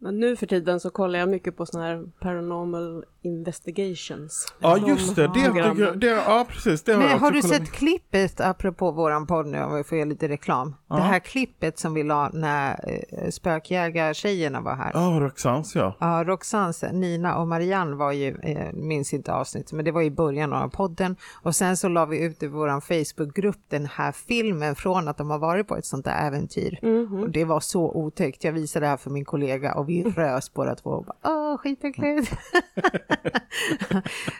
Speaker 4: Men nu för tiden så kollar jag mycket på sådana här paranormal investigations.
Speaker 2: Ja,
Speaker 4: De
Speaker 2: just det. Det,
Speaker 4: programmen.
Speaker 2: tycker jag, det ja, precis. Det har
Speaker 1: Men
Speaker 2: jag
Speaker 1: har
Speaker 2: också
Speaker 1: du
Speaker 2: kollat.
Speaker 1: sett klippet, apropå våran podd nu, om vi får göra lite reklam. Det här klippet som vi la när eh, spökjägartjejerna var här.
Speaker 2: Ja, Roxans ja.
Speaker 1: Ja, Roxans, Nina och Marianne var ju, eh, minns inte avsnittet, men det var i början av podden. Och sen så la vi ut i vår Facebookgrupp den här filmen från att de har varit på ett sånt där äventyr.
Speaker 2: Mhm.
Speaker 1: Och det var så otäckt. Jag visade det här för min kollega och vi rös båda två. Och bara, Åh, skitäckligt.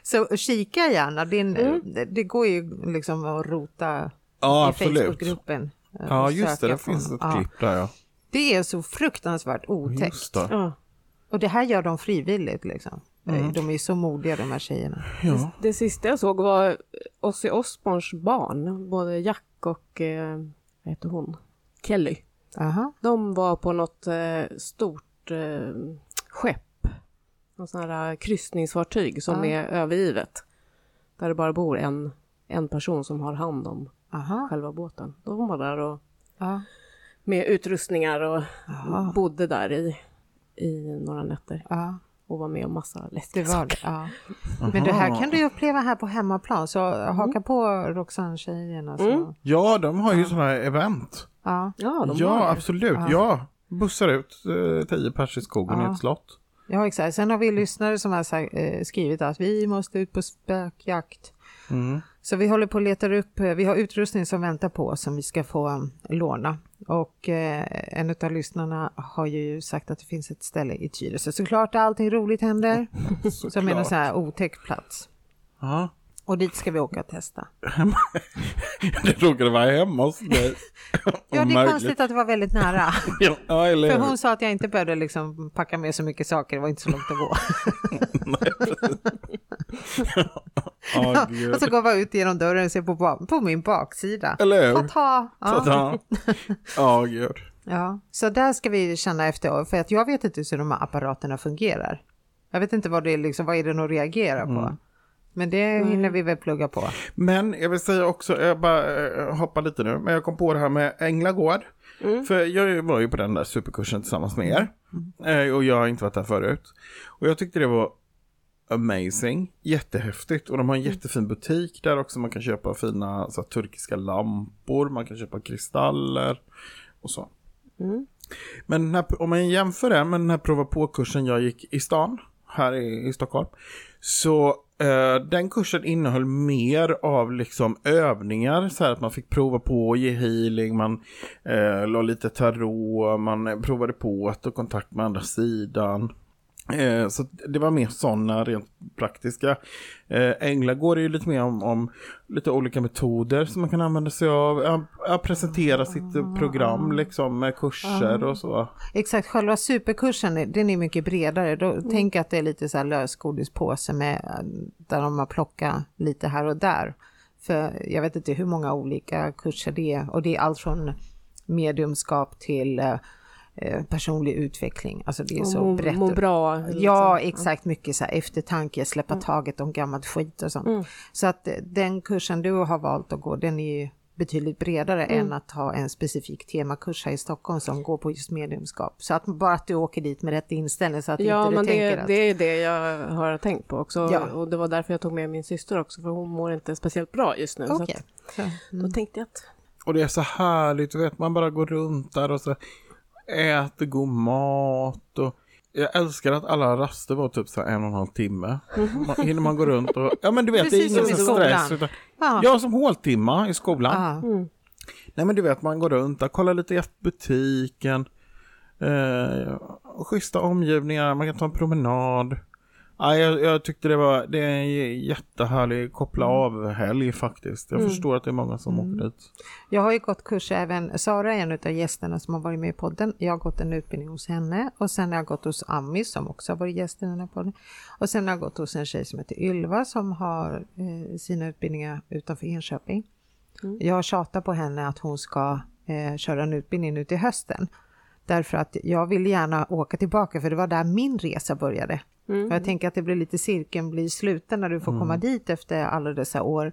Speaker 1: så kika gärna. Din, det- Det går ju liksom att rota
Speaker 2: Mm. Ja,
Speaker 1: i
Speaker 2: absolut.
Speaker 1: Facebookgruppen. eh,
Speaker 2: Ja,
Speaker 1: och
Speaker 2: just det.
Speaker 1: söka
Speaker 2: Det
Speaker 1: på
Speaker 2: finns
Speaker 1: honom.
Speaker 2: ett
Speaker 1: Ja.
Speaker 2: klipp där ja.
Speaker 1: Det är så fruktansvärt otäckt.
Speaker 2: Just det.
Speaker 4: Ja.
Speaker 1: Och det här gör de frivilligt liksom. De är ju så modiga de här tjejerna.
Speaker 2: Ja.
Speaker 4: Det sista jag såg var Ozzy Osbournes barn, både Jack och, eh, vad heter hon, Kelly.
Speaker 1: Aha.
Speaker 4: De var på något eh, stort eh, skepp, något sånt här kryssningsfartyg som
Speaker 1: Ja.
Speaker 4: är övergivet. Där det bara bor en, en person som har hand om
Speaker 1: Aha.
Speaker 4: själva båten. De var där och
Speaker 1: Ja.
Speaker 4: med utrustningar och
Speaker 1: Jaha.
Speaker 4: bodde där i, i några nätter
Speaker 1: Ja.
Speaker 4: och var med om massa läskiga
Speaker 1: Det var
Speaker 4: saker.
Speaker 1: det. Ja. Men det här kan du ju uppleva här på hemmaplan. Så haka på Roxanne-tjejerna. Så.
Speaker 2: ja, de har ju sådana här event.
Speaker 1: Ja.
Speaker 4: Ja, de
Speaker 2: ja,
Speaker 4: var det.
Speaker 2: absolut. Ja. Bussar ut eh, tio pers i skogen i
Speaker 1: Ja.
Speaker 2: ett slott.
Speaker 1: ja, exakt. Sen har vi
Speaker 2: Mm.
Speaker 1: lyssnare som har sagt, eh, skrivit att vi måste ut på spökjakt.
Speaker 2: Mm.
Speaker 1: Så vi håller på och letar upp, eh, vi har utrustning som väntar på oss som vi ska få um, låna. Och eh, en av lyssnarna har ju sagt att det finns ett ställe i Tyresö. Såklart allting roligt händer. Som är en
Speaker 2: Såklart.
Speaker 1: sån här otäck plats.
Speaker 2: Ja.
Speaker 1: Och dit ska vi åka och testa.
Speaker 2: Det råkade vara hemma hos dig.
Speaker 1: Ja, det är
Speaker 2: Märkligt.
Speaker 1: konstigt att det var väldigt nära.
Speaker 2: Ja, eller
Speaker 1: För
Speaker 2: hur?
Speaker 1: hon sa att jag inte behövde liksom packa med så mycket saker, det var inte så långt att gå.
Speaker 2: Ja, gud.
Speaker 1: och så går jag ut genom dörren och ser på, ba- på min baksida.
Speaker 2: Eller hur?
Speaker 1: Ta-ta!
Speaker 2: Så
Speaker 1: Ja.
Speaker 2: att, Ja, ja gud.
Speaker 1: Ja. Så där ska vi känna efter, för att jag vet inte hur de här apparaterna fungerar. Jag vet inte vad det är, liksom, vad är det de reagerar på.
Speaker 2: Mm.
Speaker 1: Men det hinner vi väl plugga på.
Speaker 2: Men jag vill säga också, jag bara eh, hoppar lite nu, men jag kom på det här med Änglagård.
Speaker 1: Mm.
Speaker 2: För jag var ju på den där superkursen tillsammans med er.
Speaker 1: Mm.
Speaker 2: Eh, Och jag har inte varit där förut. Och jag tyckte det var amazing, jättehäftigt. Och de har
Speaker 1: Mm.
Speaker 2: en jättefin butik där också. Man kan köpa fina så här, turkiska lampor, man kan köpa kristaller och så. Men den här, om man jämför det med den här prova på-kursen jag gick i stan, här i, i Stockholm, så eh, den kursen innehöll mer av liksom övningar, så här att man fick prova på att ge healing, man eh, la lite tarot, man eh, provade på att ta kontakt med andra sidan. Eh, så att det var mer sådana rent praktiska. Eh, Änglagård är ju lite mer om, om lite olika metoder som man kan använda sig av. Ja, ja, presentera sitt eh, program liksom med kurser och så.
Speaker 1: Exakt, själva superkursen är- den är mycket bredare. Då,
Speaker 4: Mm.
Speaker 1: Tänk att det är lite så här lösgodispåse med, där de har plockat lite här och där. För jag vet inte hur många olika kurser det är och det är allt från mediumskap till eh, eh, personlig utveckling. Alltså det är
Speaker 4: Och
Speaker 1: så
Speaker 4: må,
Speaker 1: brett.
Speaker 4: må bra. liksom.
Speaker 1: Ja, exakt. Mycket så här eftertanke, släppa
Speaker 4: Mm.
Speaker 1: taget om gammalt skit och sånt. Så att eh, den kursen du har valt att gå, den är ju betydligt bredare
Speaker 4: Mm.
Speaker 1: än att ha en specifik temakurs här i Stockholm som går på just mediumskap. Så att bara att du åker dit med rätt inställning så att
Speaker 4: Ja,
Speaker 1: inte du
Speaker 4: men
Speaker 1: tänker
Speaker 4: det,
Speaker 1: att...
Speaker 4: det är det jag har tänkt på också.
Speaker 1: Ja.
Speaker 4: Och det var därför jag tog med min syster också, för hon mår inte speciellt bra just nu. Så
Speaker 1: Okej. Mm.
Speaker 4: att, då tänkte jag att
Speaker 2: Och det är så härligt, du vet, man bara går runt där och så äter god mat och jag älskar att alla raster var typ så här en och en halv timme. Man, hinner man gå runt och, ja men du vet,
Speaker 1: Precis
Speaker 2: det är
Speaker 1: som
Speaker 2: ingen
Speaker 1: i
Speaker 2: sån stress.
Speaker 1: skolan.
Speaker 2: Utan,
Speaker 1: Ja.
Speaker 2: Ja, som håltimma i skolan.
Speaker 1: Ja.
Speaker 2: Nej men du vet, man går runt där, kollar lite i butiken. Eh, schyssta omgivningar, man kan ta en promenad. Ja, jag, jag tyckte det var det är en jättehärlig koppla
Speaker 1: Mm.
Speaker 2: av-helg faktiskt. Jag förstår att det är många som åker dit.
Speaker 1: Jag har ju gått kurser även, Sara är en av gästerna som har varit med i podden. Jag har gått en utbildning hos henne och sen har jag gått hos Ami som också har varit gäst i den här podden. Och sen har jag gått hos en tjej som heter Ylva som har eh, sina utbildningar utanför Enköping. Jag tjatar på henne att hon ska eh, köra en utbildning nu till hösten. Därför att jag vill gärna åka tillbaka för det var där min resa började. Och jag tänker att det blir lite cirkeln blir sluten när du får
Speaker 2: Mm.
Speaker 1: komma dit efter alla dessa år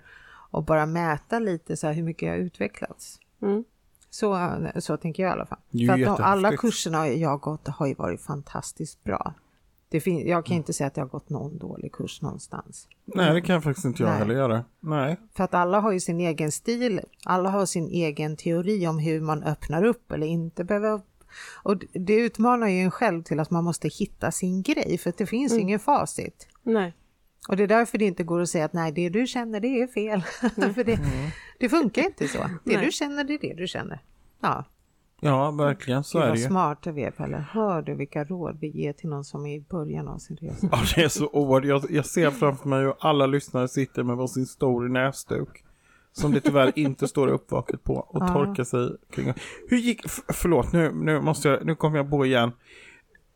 Speaker 1: och bara mäta lite så här hur mycket jag har utvecklats.
Speaker 4: Mm.
Speaker 1: Så, så tänker jag i alla fall.
Speaker 2: Det är ju
Speaker 1: För att de, alla
Speaker 2: jättehäftigt.
Speaker 1: kurserna jag har gått har ju varit fantastiskt bra. Det fin- jag kan inte säga att jag har gått någon dålig kurs någonstans.
Speaker 2: Nej, det kan jag faktiskt inte jag
Speaker 1: Nej.
Speaker 2: heller göra. Nej.
Speaker 1: För att alla har ju sin egen stil, alla har sin egen teori om hur man öppnar upp eller inte behöver upp. Och d- det utmanar ju en själv till att man måste hitta sin grej, för att det finns ju
Speaker 2: Mm.
Speaker 1: ingen facit.
Speaker 4: Nej.
Speaker 1: Och det är därför det inte går att säga att nej, det du känner det är fel. för det,
Speaker 2: Mm.
Speaker 1: det funkar inte så. Det
Speaker 4: Nej.
Speaker 1: du känner det är det du känner. Ja,
Speaker 2: Ja, verkligen så
Speaker 1: Gud
Speaker 2: är det
Speaker 1: vad
Speaker 2: ju.
Speaker 1: smarta vi är Pelle. Hör du vilka råd vi ger till någon som är i början av sin resa?
Speaker 2: Ja, det är så oerhört. Jag, jag ser framför mig hur alla lyssnare sitter med varsin stor näsduk. Som det tyvärr inte står uppvaket på och
Speaker 1: Ja.
Speaker 2: torkar sig kring. Hur gick, f- förlåt nu, nu måste jag, nu kommer jag på igen.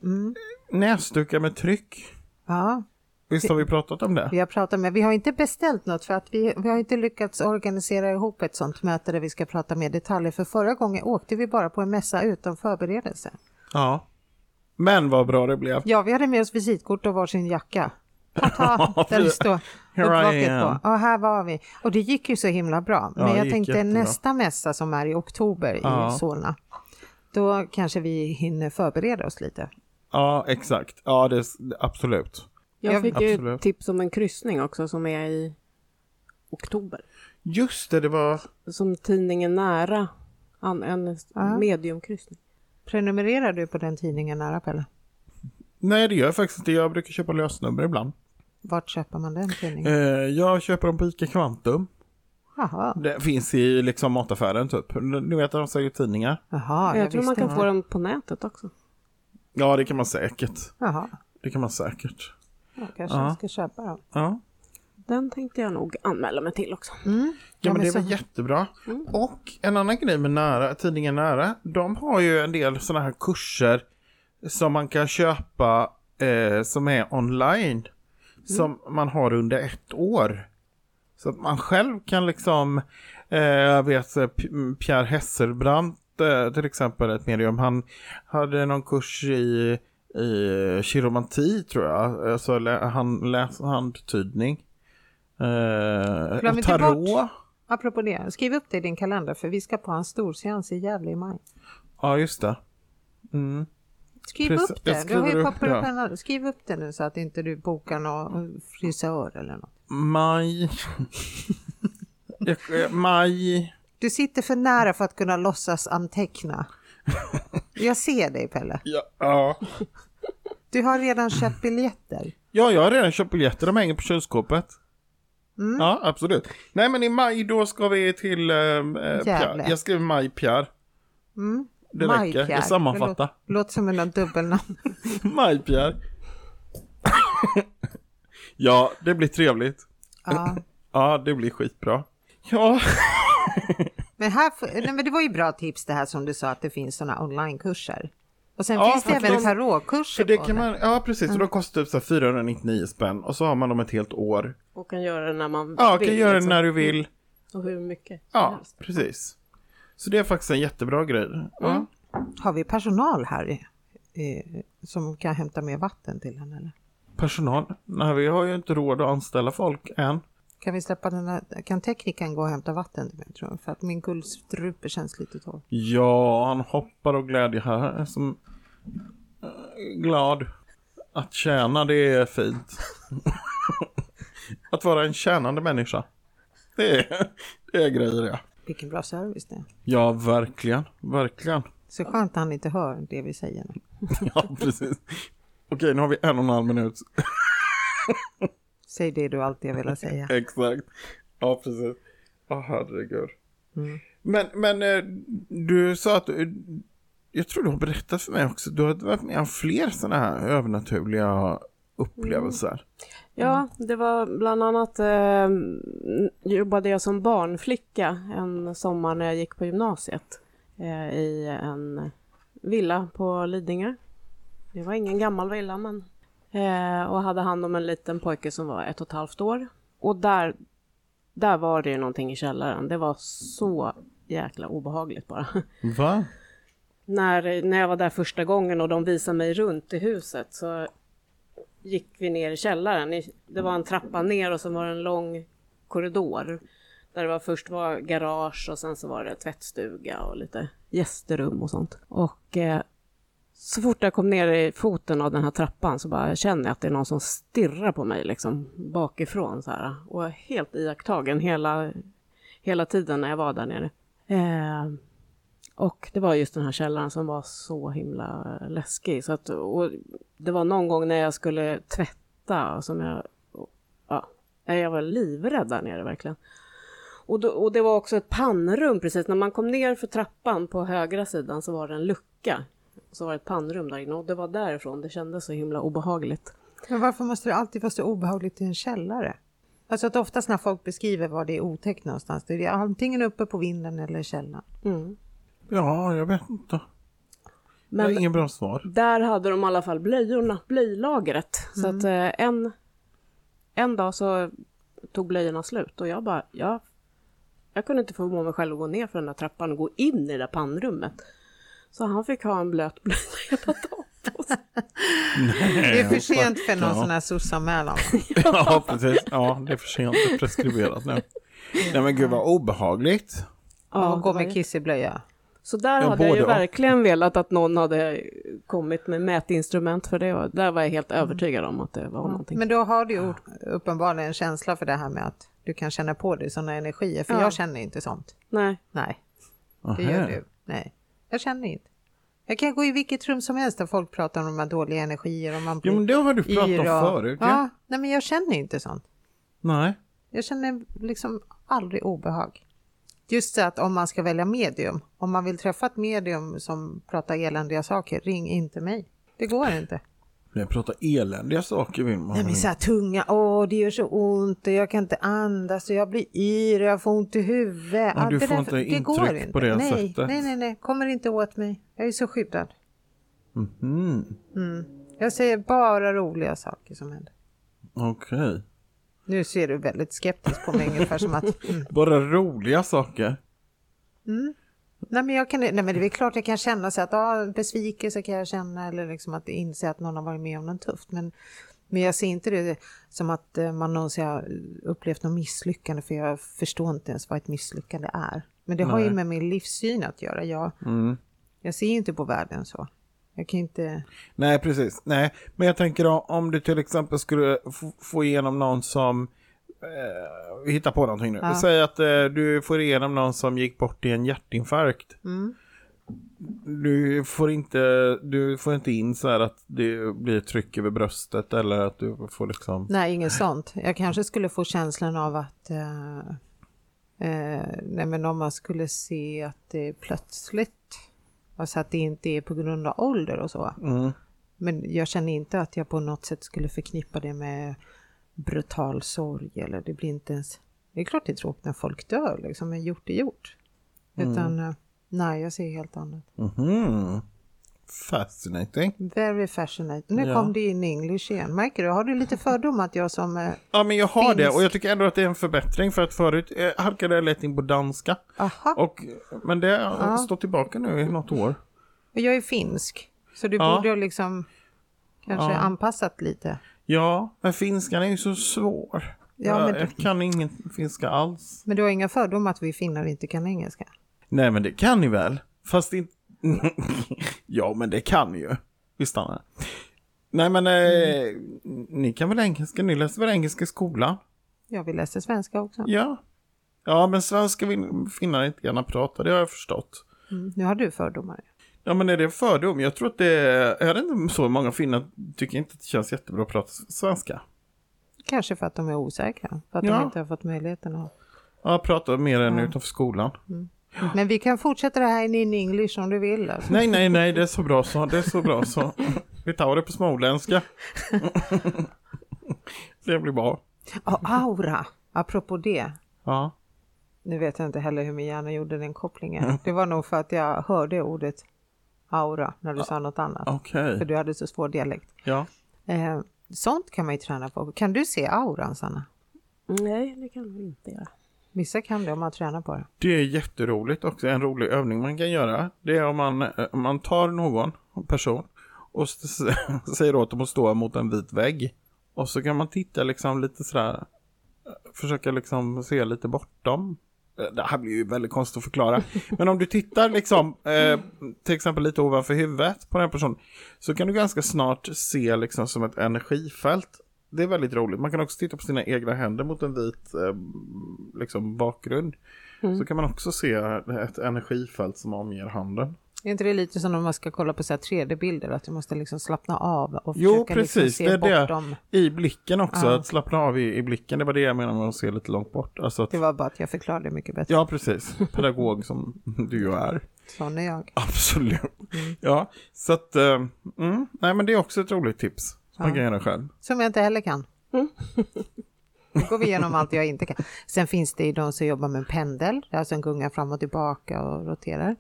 Speaker 2: Mm. Näsdukar med tryck.
Speaker 1: Ja,
Speaker 2: Visst har vi pratat om det?
Speaker 1: vi har pratat med, vi har inte beställt något för att vi, vi har inte lyckats organisera ihop ett sånt möte där vi ska prata mer detaljer. För förra gången åkte vi bara på en mässa utan förberedelse.
Speaker 2: Ja. Men vad bra det blev.
Speaker 1: Ja, vi hade med oss visitkort och varsin jacka. Haha, där det står
Speaker 2: Here I
Speaker 1: uppvaket
Speaker 2: am.
Speaker 1: på. Ja, här var vi. Och det gick ju så himla bra.
Speaker 2: Ja,
Speaker 1: Men
Speaker 2: det
Speaker 1: jag
Speaker 2: gick
Speaker 1: tänkte
Speaker 2: jättebra.
Speaker 1: nästa mässa som är i oktober
Speaker 2: Ja.
Speaker 1: i Solna. Då kanske vi hinner förbereda oss lite.
Speaker 2: Ja, exakt. Ja, det, s- absolut.
Speaker 1: Ja,
Speaker 4: Jag fick ju
Speaker 2: absolut.
Speaker 4: ett tips om en kryssning också som är i oktober.
Speaker 2: Just det, det var...
Speaker 4: Som tidningen Nära, an- en
Speaker 1: Ja.
Speaker 4: mediumkryssning.
Speaker 1: Prenumererar du på den tidningen nära Pelle?
Speaker 2: Nej, det gör jag faktiskt inte. Jag brukar köpa lösnummer ibland.
Speaker 1: Vart köper man den tidningen?
Speaker 2: Eh, jag köper dem på ICA Kvantum.
Speaker 1: Jaha,
Speaker 2: Det finns i liksom mataffären typ. Nu vet jag de säljer tidningar.
Speaker 1: Jaha jag,
Speaker 4: jag tror man
Speaker 1: visste
Speaker 4: kan
Speaker 1: inte.
Speaker 4: få den på nätet också.
Speaker 2: Ja, det kan man säkert.
Speaker 1: Jaha,
Speaker 2: Det kan man säkert.
Speaker 1: jag kanske
Speaker 2: Ja.
Speaker 1: ska köpa dem.
Speaker 2: Ja,
Speaker 4: Den tänkte jag nog anmäla mig till också.
Speaker 2: Mm. ja men
Speaker 1: men
Speaker 2: det
Speaker 1: så- Mm.
Speaker 2: var jättebra. Och en annan grej med nära, tidningen Nära. De har ju en del sådana här kurser som man kan köpa eh, som är online.
Speaker 1: Mm.
Speaker 2: Som man har under ett år. Så att man själv kan liksom, eh, jag vet eh, P- Pierre Hesselbrandt eh, till exempel, ett medium, han hade någon kurs i, i kiromanti tror jag, alltså lä, han läs, handtydning. Eh,
Speaker 1: Glöm
Speaker 2: och
Speaker 1: inte bort-
Speaker 2: tarot.
Speaker 1: Apropå det, skriv upp det i din kalender för vi ska på en storseans i Gävle i maj.
Speaker 2: Ja, just det. Mm.
Speaker 1: Skriv
Speaker 2: Precis,
Speaker 1: upp
Speaker 2: jag
Speaker 1: det. Du har ju
Speaker 2: skriver upp
Speaker 1: papper
Speaker 2: det.
Speaker 1: och penna. Skriv upp det nu så att inte du bokar någon frisör eller något.
Speaker 2: Maj. Jag- eh, Maj.
Speaker 1: Du sitter för nära för att kunna låtsas anteckna. Jag ser dig Pelle.
Speaker 2: Ja, ja.
Speaker 1: Du har redan köpt biljetter.
Speaker 2: Ja, jag har redan köpt biljetter. De hänger på kylskåpet. Ja, absolut. Nej, men i maj då ska vi till eh, eh, Pierre. Jag skriver maj Pierre. Det räcker.
Speaker 1: Maj-Pierre.
Speaker 2: Jag sammanfattar.
Speaker 1: Det lå- låter som en dubbelnamn.
Speaker 2: maj Pierre. ja, det blir trevligt.
Speaker 1: Ja.
Speaker 2: Ja, det blir skitbra. Ja,
Speaker 1: Men, här, får- nej, men det var ju bra tips det här som du sa att det finns sådana onlinekurser. Och sen
Speaker 2: Ja,
Speaker 1: finns det
Speaker 2: för
Speaker 1: även
Speaker 2: de-
Speaker 1: tarotkurser
Speaker 2: för det
Speaker 1: på
Speaker 2: kan man, ja precis. Och då kostar det typ så här 499 spänn. Och så har man dem ett helt år.
Speaker 4: Och kan göra det när man
Speaker 2: Ja,
Speaker 4: vill.
Speaker 2: kan göra det
Speaker 4: liksom.
Speaker 2: när du vill.
Speaker 4: Och hur mycket som
Speaker 2: Ja,
Speaker 4: helst.
Speaker 2: precis. Så det är faktiskt en jättebra grej. Mm. Ja.
Speaker 1: Har vi personal här eh, som kan hämta mer vatten till henne? Eller?
Speaker 2: Personal. Nej, vi har ju inte råd att anställa folk än.
Speaker 1: Kan vi släppa den här, kan teknikern gå och hämta vatten till mig tror jag? För att min guldstrupe känns lite torr.
Speaker 2: Ja, han hoppar och glädje här som eh, glad. Att tjäna, det är fint. att vara en tjänande människa. Det är, det är grejer det.
Speaker 1: Vilken bra service det är.
Speaker 2: Ja, verkligen. Verkligen.
Speaker 1: Så skönt att han inte hör det vi säger. nu.
Speaker 2: Ja, precis. Okej, nu har vi en och en halv minut.
Speaker 1: Säg det du alltid har velat säga.
Speaker 2: Exakt. Ja, precis.
Speaker 1: Mm.
Speaker 2: Åh, herregud. Men, men eh, du sa att eh, jag tror du har berättat för mig också, du har varit med om fler sådana här övernaturliga upplevelser.
Speaker 4: Ja, det var bland annat eh, jobbade jag som barnflicka en sommar när jag gick på gymnasiet eh, i en villa på Lidingö. Det var ingen gammal villa men eh, och hade hand om en liten pojke som var ett och ett halvt år. Och där, där var det ju någonting i källaren. Det var så jäkla obehagligt bara.
Speaker 2: Mm. Va?
Speaker 4: när, när jag var där första gången och de visade mig runt i huset så gick vi ner i källaren. I- Det var en trappa ner och så var det en lång korridor. Där det var, först var garage och sen så var det tvättstuga och lite gästerum och sånt. Och eh, så fort jag kom ner i foten av den här trappan så bara känner jag att det är någon som stirrar på mig liksom bakifrån så här. Och helt iakttagen hela, hela tiden när jag var där nere. Eh, och det var just den här källaren som var så himla läskig. Så att, och det var någon gång när jag skulle tvätta som jag... Ja, jag var livrädd där nere verkligen. Och, då, och det var också ett pannrum precis. När man kom ner för trappan på högra sidan så var det en lucka. Så var det ett pannrum där inne och det var därifrån det kändes så himla obehagligt.
Speaker 1: Men varför måste det alltid vara så obehagligt i en källare? Alltså att oftast när folk beskriver var det är otäckt någonstans, det är antingen uppe på vinden eller i källaren.
Speaker 2: Ja, jag vet inte. Jag har
Speaker 4: Men
Speaker 2: ingen bra svar.
Speaker 4: Där hade de i alla fall blöjorna, blöjlagret. Så
Speaker 1: Mm.
Speaker 4: att eh, en, en dag så tog blöjorna slut och jag bara, jag, jag kunde inte förmå mig själv att gå ner för den där trappan och gå in i det där pannrummet. Så han fick ha en blöt blöja hela dagen. på sig.
Speaker 1: Det är för sent för någon
Speaker 2: Eh, Ja.
Speaker 1: sån här sossanmälan.
Speaker 2: Ja, precis. Ja, det är för sent. Det är preskriberat nu. Nej men gud vad obehagligt.
Speaker 1: Ja,
Speaker 4: det
Speaker 1: och gå
Speaker 4: var ju-
Speaker 1: med kiss i blöja.
Speaker 4: Så där
Speaker 2: Ja,
Speaker 4: hade jag
Speaker 2: både
Speaker 4: ju
Speaker 2: och.
Speaker 4: verkligen velat att någon hade kommit med mätinstrument för det. Och där var jag helt övertygad om att det var någonting.
Speaker 1: Mm. Men då har du
Speaker 2: Ah.
Speaker 1: ju uppenbarligen en känsla för det här med att du kan känna på dig sådana energier, för
Speaker 4: Ja.
Speaker 1: jag känner inte sånt.
Speaker 4: Nej,
Speaker 1: Nej, det gör
Speaker 2: Aha.
Speaker 1: du. Nej, jag känner inte. Jag kan gå i vilket rum som helst där folk pratar om de här dåliga energier och man
Speaker 2: Jo men det har du pratat om
Speaker 1: yra.
Speaker 2: förut.
Speaker 1: Ja.
Speaker 2: Ja.
Speaker 1: nej men jag känner inte sånt.
Speaker 2: Nej.
Speaker 1: Jag känner liksom aldrig obehag. Just det att om man ska välja medium, om man vill träffa ett medium som pratar eländiga saker, ring inte mig. Det går inte.
Speaker 2: Men jag pratar eländiga saker vill man.
Speaker 1: Nej men så här tunga, åh det gör så ont, och jag kan inte andas och jag blir yr och jag får ont i huvudet.
Speaker 2: Ja,
Speaker 1: Allt
Speaker 2: du
Speaker 1: det
Speaker 2: får
Speaker 1: där-
Speaker 2: inte intryck på det
Speaker 1: nej,
Speaker 2: sättet.
Speaker 1: Nej, nej, nej, kommer inte åt mig. Jag är så skyddad.
Speaker 2: Mm,
Speaker 1: Jag säger bara roliga saker som händer.
Speaker 2: Okej.
Speaker 1: Nu ser du väldigt skeptisk på mig ungefär som att mm.
Speaker 2: Bara roliga saker.
Speaker 1: Nej men, jag kan, nej men det är väl klart jag kan känna så att ja, besvikelse kan jag känna eller liksom att inse att någon har varit med om något tufft. Men, men jag ser inte det som att eh, man någonsin har upplevt något misslyckande för jag förstår inte ens vad ett misslyckande är. Men det har ju
Speaker 2: Nej.
Speaker 1: med min livssyn att göra. Jag, jag ser ju inte på världen så. Jag kan ju inte...
Speaker 2: Nej, precis. Nej, men jag tänker då, om du till exempel skulle f- få igenom någon som eh, hittar på någonting nu. Säg att eh, du får igenom någon som gick bort i en hjärtinfarkt.
Speaker 1: Mm.
Speaker 2: Du, får inte, du får inte in så här att det blir tryck över bröstet eller att du får liksom...
Speaker 1: Nej, inget sånt. Jag kanske skulle få känslan av att... Eh, eh, nej, men om man skulle se att det är plötsligt, alltså att det inte är på grund av ålder och så. Men jag känner inte att jag på något sätt skulle förknippa det med brutal sorg eller det blir inte ens... Det är klart det är tråkigt när folk dör, liksom, men gjort är gjort. Utan, eh, nej, jag ser helt annat.
Speaker 2: Mhm. Fascinating.
Speaker 1: Very fascinating. Nu
Speaker 2: Ja.
Speaker 1: kom det in English igen. Märker du? Har du lite fördom att jag som... Eh,
Speaker 2: Ja, men jag har
Speaker 1: Finsk.
Speaker 2: det och jag tycker ändå att det är en förbättring för att förut eh, halkade jag lätt in på danska.
Speaker 1: aha.
Speaker 2: Och, men det har stått tillbaka nu i något år.
Speaker 1: Och jag är finsk, så du
Speaker 2: Ja.
Speaker 1: borde ha liksom kanske anpassat lite.
Speaker 2: Ja, men finskan är ju så svår.
Speaker 1: Ja, men-
Speaker 2: jag, jag kan ingen finska alls.
Speaker 1: Men du har inga fördomar att vi finnar inte kan engelska?
Speaker 2: Nej, men det kan ni väl? Fast inte... ja, men det kan ni ju. Vi stannar. Nej, men eh, ni kan väl engelska? Ni läser väl engelska i skolan?
Speaker 1: Ja, vi läser svenska också.
Speaker 2: Ja. Ja, men svenska vill finnar inte gärna prata, det har jag förstått.
Speaker 1: Mm. Nu har du fördomar.
Speaker 2: Ja, men är det en fördom? Jag tror att det är... Är det inte så många finnar tycker inte att det känns jättebra att prata svenska?
Speaker 1: Kanske för att de är osäkra, för att
Speaker 2: Ja.
Speaker 1: de inte har fått möjligheten att...
Speaker 2: Ja, prata mer än utanför skolan.
Speaker 1: Men vi kan fortsätta det här in in English om du vill. Alltså.
Speaker 2: Nej, nej, nej, det är så bra så. Det är så bra så. Vi tar det på småländska. Det blir bra.
Speaker 1: Och aura, apropå det.
Speaker 2: Ja.
Speaker 1: Nu vet jag inte heller hur min hjärna gjorde den kopplingen. Det var nog för att jag hörde ordet aura när du sa något annat.
Speaker 2: Okej.
Speaker 1: För du hade så svår dialekt.
Speaker 2: Ja.
Speaker 1: Eh, sånt kan man ju träna på. Kan du se auran Sanna?
Speaker 4: Nej, det kan vi inte göra.
Speaker 1: Vissa kan det om man tränar på det.
Speaker 2: Det är jätteroligt också. En rolig övning man kan göra. Det är om man, eh, om man tar någon person och s- säger åt dem att stå mot en vit vägg. Och så kan man titta liksom lite sådär. eh, Försöka liksom se lite bortom. Eh, Det här blir ju väldigt konstigt att förklara. Men om du tittar liksom eh, till exempel lite ovanför huvudet på den här personen. Så kan du ganska snart se liksom som ett energifält. Det är väldigt roligt. Man kan också titta på sina egna händer mot en vit eh, liksom bakgrund. Så kan man också se ett energifält som omger handen.
Speaker 1: Är inte det lite som när man ska kolla på så här 3D-bilder? Att du måste liksom slappna av och
Speaker 2: Jo,
Speaker 1: försöka liksom
Speaker 2: precis.
Speaker 1: se
Speaker 2: det är
Speaker 1: bortom.
Speaker 2: det. I blicken också.
Speaker 1: Ja.
Speaker 2: Att slappna av i, i blicken. Det var det jag menade med att se lite långt bort. Alltså att,
Speaker 1: Det var bara att jag förklarade mycket bättre.
Speaker 2: Ja, precis. Pedagog som du ju är.
Speaker 1: Sån är jag.
Speaker 2: Absolut.
Speaker 1: Mm.
Speaker 2: Ja, så att... eh, Mm, nej, men det är också ett roligt tips. Som man kan göra själv.
Speaker 1: Som jag inte heller kan. Nu går vi igenom allt jag inte kan. Sen finns det ju de som jobbar med en pendel, alltså en gunga fram och tillbaka och roterar.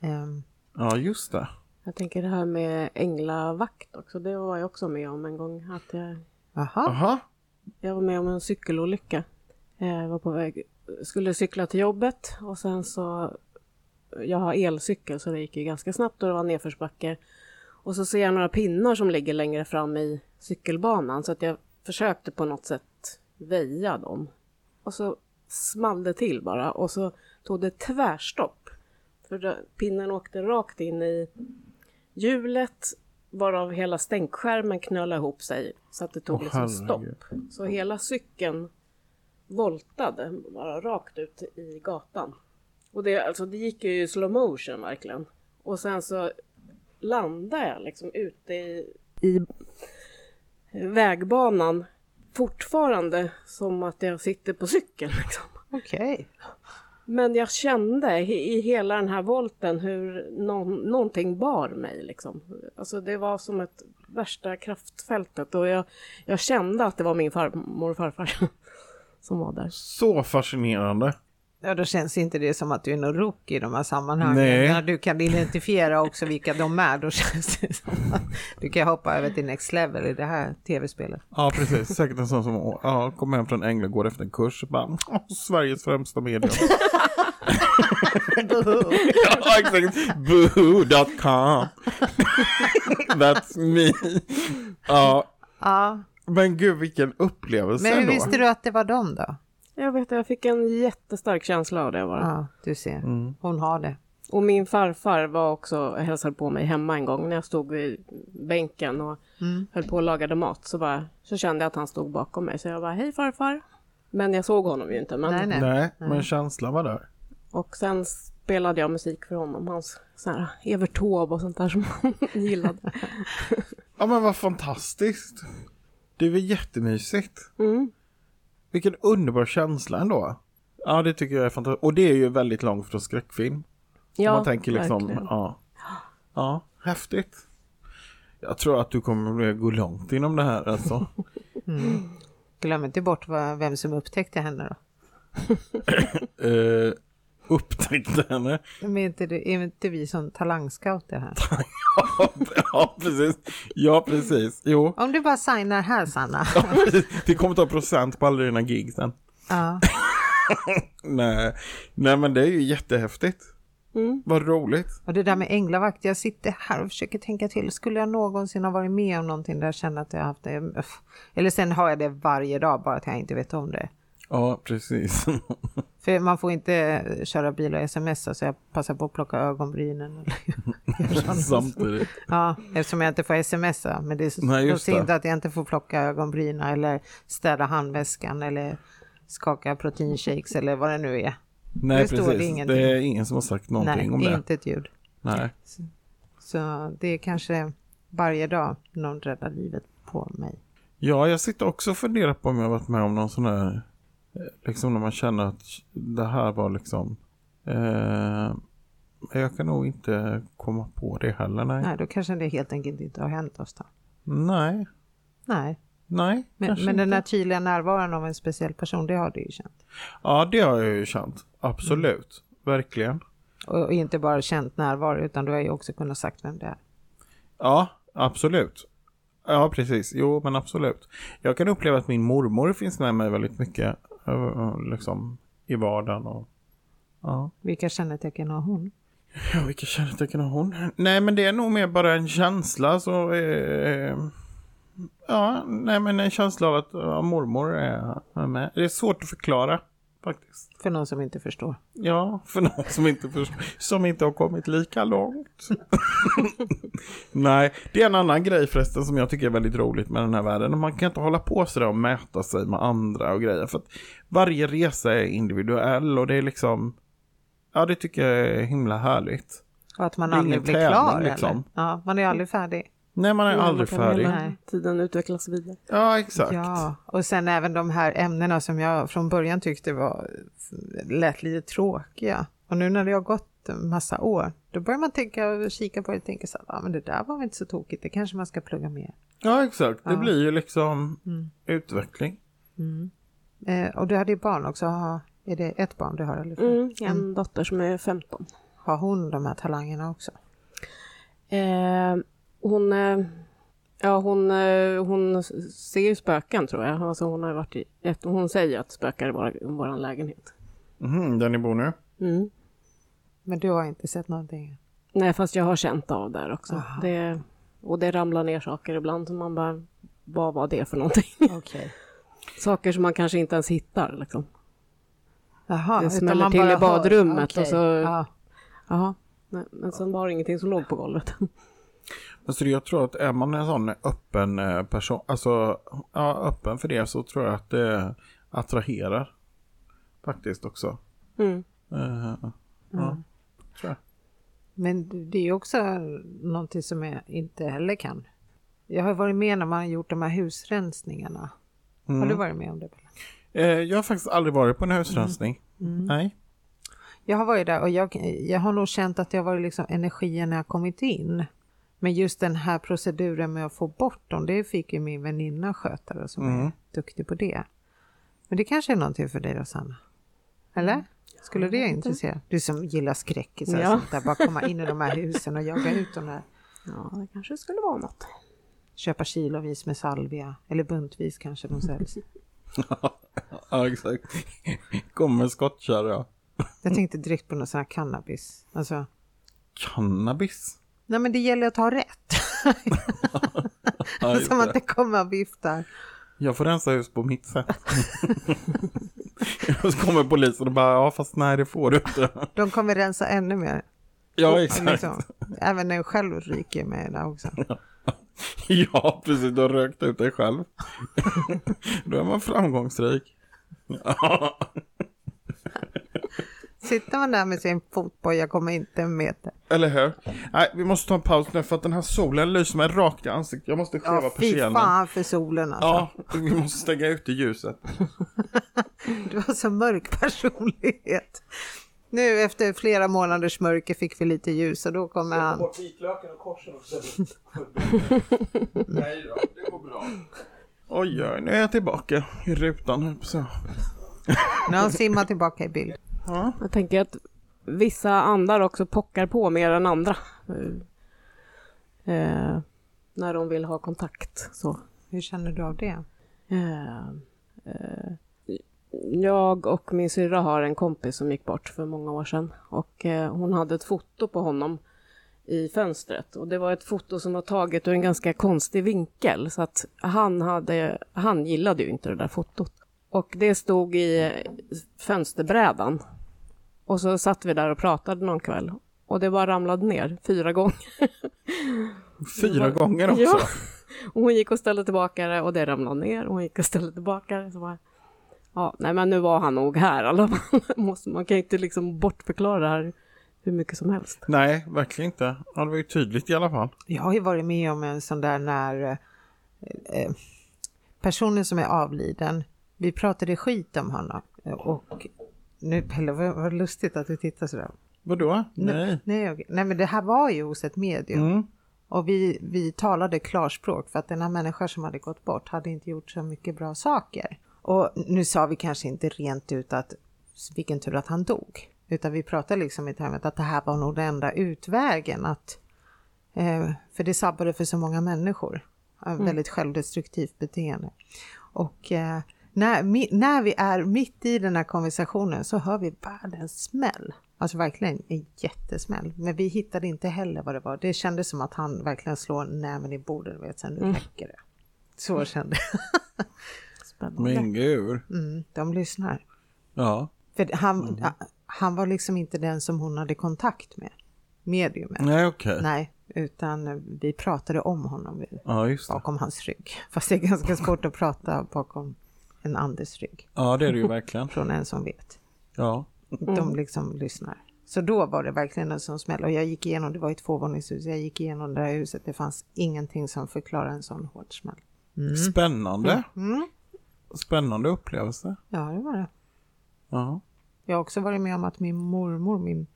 Speaker 1: Ehm,
Speaker 2: Ja, just det.
Speaker 4: Jag tänker det här med änglavakt också. Det var jag också med om en gång. Att jag,
Speaker 1: Jaha,
Speaker 2: Aha.
Speaker 4: jag var med om en cykelolycka. Eh, Jag var på väg, skulle cykla till jobbet och sen så... Jag har elcykel så det gick ju ganska snabbt och det var nedförsbacke. Och så ser jag några pinnar som ligger längre fram i cykelbanan så att jag försökte på något sätt väja dem. Och så small det till bara och så tog det tvärstopp. För då, pinnen åkte rakt in i hjulet varav hela stänkskärmen knölade ihop sig så att det tog
Speaker 2: Åh,
Speaker 4: liksom stopp.
Speaker 2: herregud.
Speaker 4: Så hela cykeln voltade bara rakt ut i gatan. Och det, alltså, det gick ju i slow motion verkligen. Och sen så landade jag liksom ute i, i vägbanan fortfarande som att jag sitter på cykeln. Liksom.
Speaker 1: okej.
Speaker 4: Men jag kände i i hela den här volten hur någon, någonting bar mig. Liksom. Alltså det var som ett värsta kraftfältet och jag, jag kände att det var min farmor och farfar som var där.
Speaker 2: Så fascinerande.
Speaker 1: Ja, då känns inte det som att du är någon rookie i de här sammanhangen.
Speaker 2: Nej.
Speaker 1: När du kan identifiera också vilka de är, då känns det som att du kan hoppa över till next level i det här tv-spelet.
Speaker 2: Ja, precis. Säkert en sån som ja, kom hem från England går efter en kurs och bara "Åh, Sveriges främsta medium. ja, exakt. Boohoo.com. That's me. Ja,
Speaker 1: Ja,
Speaker 2: men gud vilken upplevelse
Speaker 1: men hur
Speaker 2: ändå.
Speaker 1: visste du att det var dem då?
Speaker 4: Jag vet jag fick en jättestark känsla av det bara.
Speaker 1: Ja, du ser. Hon har det.
Speaker 4: Och min farfar var också hälsade på mig hemma en gång när jag stod vid bänken och
Speaker 1: Mm.
Speaker 4: höll på och lagade mat så, bara, så kände jag att han stod bakom mig så jag bara hej farfar. Men jag såg honom ju inte. Men...
Speaker 1: Nej, nej.
Speaker 2: Nej, men känslan var där.
Speaker 4: Och sen spelade jag musik för honom, hans sån här Evert Taube och sånt där som han gillade.
Speaker 2: Ja, men vad fantastiskt. Det var jättemysigt.
Speaker 4: Mm.
Speaker 2: Vilken underbar känsla ändå. Ja, det tycker jag är fantastiskt. Och det är ju väldigt långt från skräckfilm.
Speaker 4: Ja,
Speaker 2: man tänker liksom,
Speaker 4: verkligen.
Speaker 2: ja. Ja, häftigt. Jag tror att du kommer att gå långt inom det här alltså.
Speaker 1: Glöm inte bort vad, vem som upptäckte henne då.
Speaker 2: uh, upptäckte henne.
Speaker 1: Men är inte, det, är inte vi som talangscouter här?
Speaker 2: ja, precis. Ja, precis. Jo,
Speaker 1: Om du bara signar här Sanna.
Speaker 2: vi kommer ta procent på alla dina gig sen.
Speaker 1: Ja.
Speaker 2: Nej. Nej, men det är ju jättehäftigt.
Speaker 1: Mm.
Speaker 2: Vad roligt.
Speaker 1: Och det där med änglavakt, jag sitter här och försöker tänka till. Skulle jag någonsin ha varit med om någonting där jag känner att jag haft det? Uff. Eller sen har jag det varje dag, bara att jag inte vet om det.
Speaker 2: Ja, precis.
Speaker 1: För man får inte eh, köra bil och smsa så jag passar på att plocka ögonbrynen.
Speaker 2: Samtidigt.
Speaker 1: ja, eftersom jag inte får smsa. Men det
Speaker 2: Nej,
Speaker 1: står
Speaker 2: just det.
Speaker 1: inte att jag inte får plocka ögonbrynen eller städa handväskan eller skaka proteinshakes eller vad det nu är.
Speaker 2: Nej,
Speaker 1: Det står det
Speaker 2: precis. Det,
Speaker 1: ingenting.
Speaker 2: är ingen som har sagt någonting om
Speaker 1: Nej,
Speaker 2: det.
Speaker 1: inte ett ljud.
Speaker 2: Nej.
Speaker 1: Så det är kanske varje dag någon räddar livet på mig.
Speaker 2: Ja, jag sitter också och funderar på om jag varit med om någon sån här, eh, liksom när man känner att det här var liksom Eh, men jag kan nog inte komma på det heller. Nej. Nej.
Speaker 1: Nej, då kanske det helt enkelt inte har hänt oss då.
Speaker 2: Nej.
Speaker 1: Nej,
Speaker 2: Nej.
Speaker 1: men,
Speaker 2: kanske
Speaker 1: men den
Speaker 2: inte.
Speaker 1: här tydliga närvaron av en speciell person, det har du ju känt.
Speaker 2: Ja, det har jag ju känt. Absolut. Verkligen.
Speaker 1: Och, och inte bara känt närvaro, utan du har ju också kunnat sagt vem det är.
Speaker 2: Ja, absolut. Ja, precis. Jo, men absolut. Jag kan uppleva att min mormor finns med mig väldigt mycket. eh, Liksom i vardagen och... Ja.
Speaker 1: Vilka kännetecken har hon?
Speaker 2: Ja, vilka kännetecken har hon? Nej, men det är nog mer bara en känsla så... Eh, ja, nej men en känsla av att ja, mormor är, är med. Det är svårt att förklara faktiskt.
Speaker 1: För någon som inte förstår.
Speaker 2: Ja, för någon som inte, förstår, som inte har kommit lika långt. Nej, det är en annan grej förresten som jag tycker är väldigt roligt med den här världen. Man kan inte hålla på sådär och mäta sig med andra och grejer. För att varje resa är individuell och det är liksom... Ja, det tycker jag är himla härligt.
Speaker 1: Och att man
Speaker 2: Det är
Speaker 1: aldrig
Speaker 2: ingen
Speaker 1: blir
Speaker 2: tävling,
Speaker 1: klar.
Speaker 2: liksom.
Speaker 1: Eller? Ja, man är ju aldrig färdig.
Speaker 2: Nej, man är aldrig
Speaker 4: Man kan
Speaker 2: färdig.
Speaker 4: hela
Speaker 1: Nej.
Speaker 4: Tiden utvecklas vidare.
Speaker 2: Ja, exakt.
Speaker 1: Ja, och sen även de här ämnena som jag från början tyckte var, lät lite tråkiga. Och nu när det har gått en massa år, då börjar man tänka och kika på det och tänka så här, ah, men det där var väl inte så tokigt, det kanske man ska plugga mer.
Speaker 2: Ja, exakt. Det
Speaker 1: Ja.
Speaker 2: blir ju liksom utveckling.
Speaker 1: Eh, och du hade ju barn också, har, är det ett barn du har? Eller? flera?
Speaker 4: Mm, en dotter som är 15.
Speaker 1: Har hon de här talangerna också?
Speaker 4: Eh, hon, eh, ja, hon, eh, hon ser ju spöken tror jag. Alltså, hon, har varit i, ett, hon säger att spökar i vår, vår lägenhet.
Speaker 2: Mhm, där ni bor nu?
Speaker 4: Mm.
Speaker 1: Men du har inte sett någonting?
Speaker 4: Nej, fast jag har känt av där också. Det, och det ramlar ner saker ibland som man bara, vad var det för någonting?
Speaker 1: Okej.
Speaker 4: saker som man kanske inte ens hittar liksom.
Speaker 1: Jaha,
Speaker 4: Det
Speaker 1: utan
Speaker 4: smäller
Speaker 1: man
Speaker 4: till
Speaker 1: bara
Speaker 4: i
Speaker 1: hör.
Speaker 4: badrummet
Speaker 1: Okej.
Speaker 4: och så-
Speaker 1: Ja.
Speaker 4: Jaha. Nej, men sen var det ingenting som låg på golvet.
Speaker 2: Alltså jag tror att är man en sån öppen eh, person, alltså ja, öppen för det så tror jag att det attraherar faktiskt också.
Speaker 4: Mm.
Speaker 2: Eh, Ja, tror jag.
Speaker 1: Men det är ju också någonting som jag inte heller kan. Jag har varit med när man har gjort de här husrensningarna. Har du
Speaker 4: Mm.
Speaker 1: varit med om det? Bella?
Speaker 2: Eh, jag har faktiskt aldrig varit på en husrensning. Nej.
Speaker 1: Jag har varit där och jag, jag har nog känt att jag har varit liksom energier när jag kommit in. Men just den här proceduren med att få bort dem, det fick ju min väninna sköta då, som
Speaker 2: Mm.
Speaker 1: är duktig på det. Men det kanske är någonting för dig då Sanna? Eller? Skulle det intressera? Du som gillar skräckisar
Speaker 4: Ja.
Speaker 1: och sånt där, bara komma in i de här husen och jaga ut de där.
Speaker 4: Ja, det kanske skulle vara något.
Speaker 1: köpa kilovis med salvia, eller buntvis kanske de säljs.
Speaker 2: Ja, exakt. Kommer skottkärra.
Speaker 1: Jag tänkte direkt på någon sån här cannabis. Alltså,
Speaker 2: Cannabis.
Speaker 1: nej men det gäller att ha rätt.
Speaker 2: Ja, just
Speaker 1: så man
Speaker 2: det.
Speaker 1: inte kommer och viftar.
Speaker 2: Jag får rensa hus på mitt sätt. Och så kommer polisen och bara, ja fast nej det får du inte.
Speaker 1: De kommer rensa ännu mer.
Speaker 2: Ja
Speaker 1: Liksom. Även när jag själv ryker med det också.
Speaker 2: Ja precis, du har rökt ut dig själv. Då är man framgångsrik. Ja.
Speaker 1: Sitter man där med sin fotboja, kommer inte en meter.
Speaker 2: Eller hur? Nej, vi måste ta en paus nu för att den här solen lyser mig rakt i ansiktet. Jag måste skeva
Speaker 1: Ja, fy
Speaker 2: persiennen.
Speaker 1: fan för solen alltså.
Speaker 2: Ja, vi måste stänga ute ljuset.
Speaker 1: Du har så mörk personlighet. Nu efter flera månaders mörker fick vi lite ljus och då kommer han.
Speaker 3: Bort vitlöken och korsen och så. Nej då, det går bra.
Speaker 2: Oj, oj, nu är jag tillbaka i rutan. höll jag på att säga.
Speaker 1: Nu har han simmat tillbaka i bild.
Speaker 4: Jag tänker att vissa andar också pockar på mer än andra. Eh, när de vill ha kontakt. Så.
Speaker 1: Hur känner du av det?
Speaker 4: Eh, eh, jag och min syrra har en kompis som gick bort för många år sedan. Och eh, hon hade ett foto på honom i fönstret. Och det var ett foto som var taget ur en ganska konstig vinkel. Så att han, hade, han gillade ju inte det där fotot. Och det stod i fönsterbrädan. Och så satt vi där och pratade någon kväll. Och det bara ramlade ner fyra gånger.
Speaker 2: Fyra gånger också.
Speaker 4: Ja. Och hon gick och ställde tillbaka det och det ramlade ner och hon gick och ställde tillbaka det. Så bara, ja, nej men nu var han nog här. Alla fall. Måste- Man kan ju inte liksom bortförklara det här hur mycket som helst.
Speaker 2: Nej, verkligen inte. Ja, det var ju tydligt i alla fall.
Speaker 1: Jag har ju varit med om en sån där när eh, eh, personen som är avliden, vi pratade skit om honom eh, och Nu Pelle, vad, vad lustigt att du tittar sådär.
Speaker 2: Vadå? Nej.
Speaker 1: Nej, okej. Nej men det här var ju hos ett medium.
Speaker 2: Mm.
Speaker 1: Och vi, vi talade klarspråk för att den här människan som hade gått bort hade inte gjort så mycket bra saker. Och nu sa vi kanske inte rent ut att vilken tur att han dog. Utan vi pratade liksom i termer att det här var nog den enda utvägen. Att, eh, för det sabbade för så många människor. Ett väldigt självdestruktivt beteende. Och eh, när, mi, när vi är mitt i den här konversationen så hör vi världens smäll. Alltså verkligen en jättesmäll. Men vi hittade inte heller vad det var. Det kändes som att han verkligen slår näven i bordet. du Vet, sen nu räcker det. Så kände jag.
Speaker 4: Spännande.
Speaker 2: Men gud.
Speaker 1: Mm, de lyssnar.
Speaker 2: Ja.
Speaker 1: För han, a- han var liksom inte den som hon hade kontakt med, mediumet.
Speaker 2: Nej, okej.
Speaker 1: Nej, utan vi pratade om honom
Speaker 2: Ja, just det.
Speaker 1: bakom hans rygg. Fast det är ganska svårt att prata bakom en andes rygg
Speaker 2: Ja, det är det ju verkligen.
Speaker 1: från en som vet.
Speaker 2: Ja.
Speaker 1: De liksom lyssnar. Så då var det verkligen en sån smäll och jag gick igenom, det var ett tvåvåningshus, jag gick igenom det här huset, det fanns ingenting som förklarar en sån hård smäll.
Speaker 2: Spännande.
Speaker 1: Mm.
Speaker 2: Spännande upplevelse.
Speaker 1: Ja, det var det.
Speaker 2: Ja.
Speaker 1: Jag har också varit med om att min mormor, min,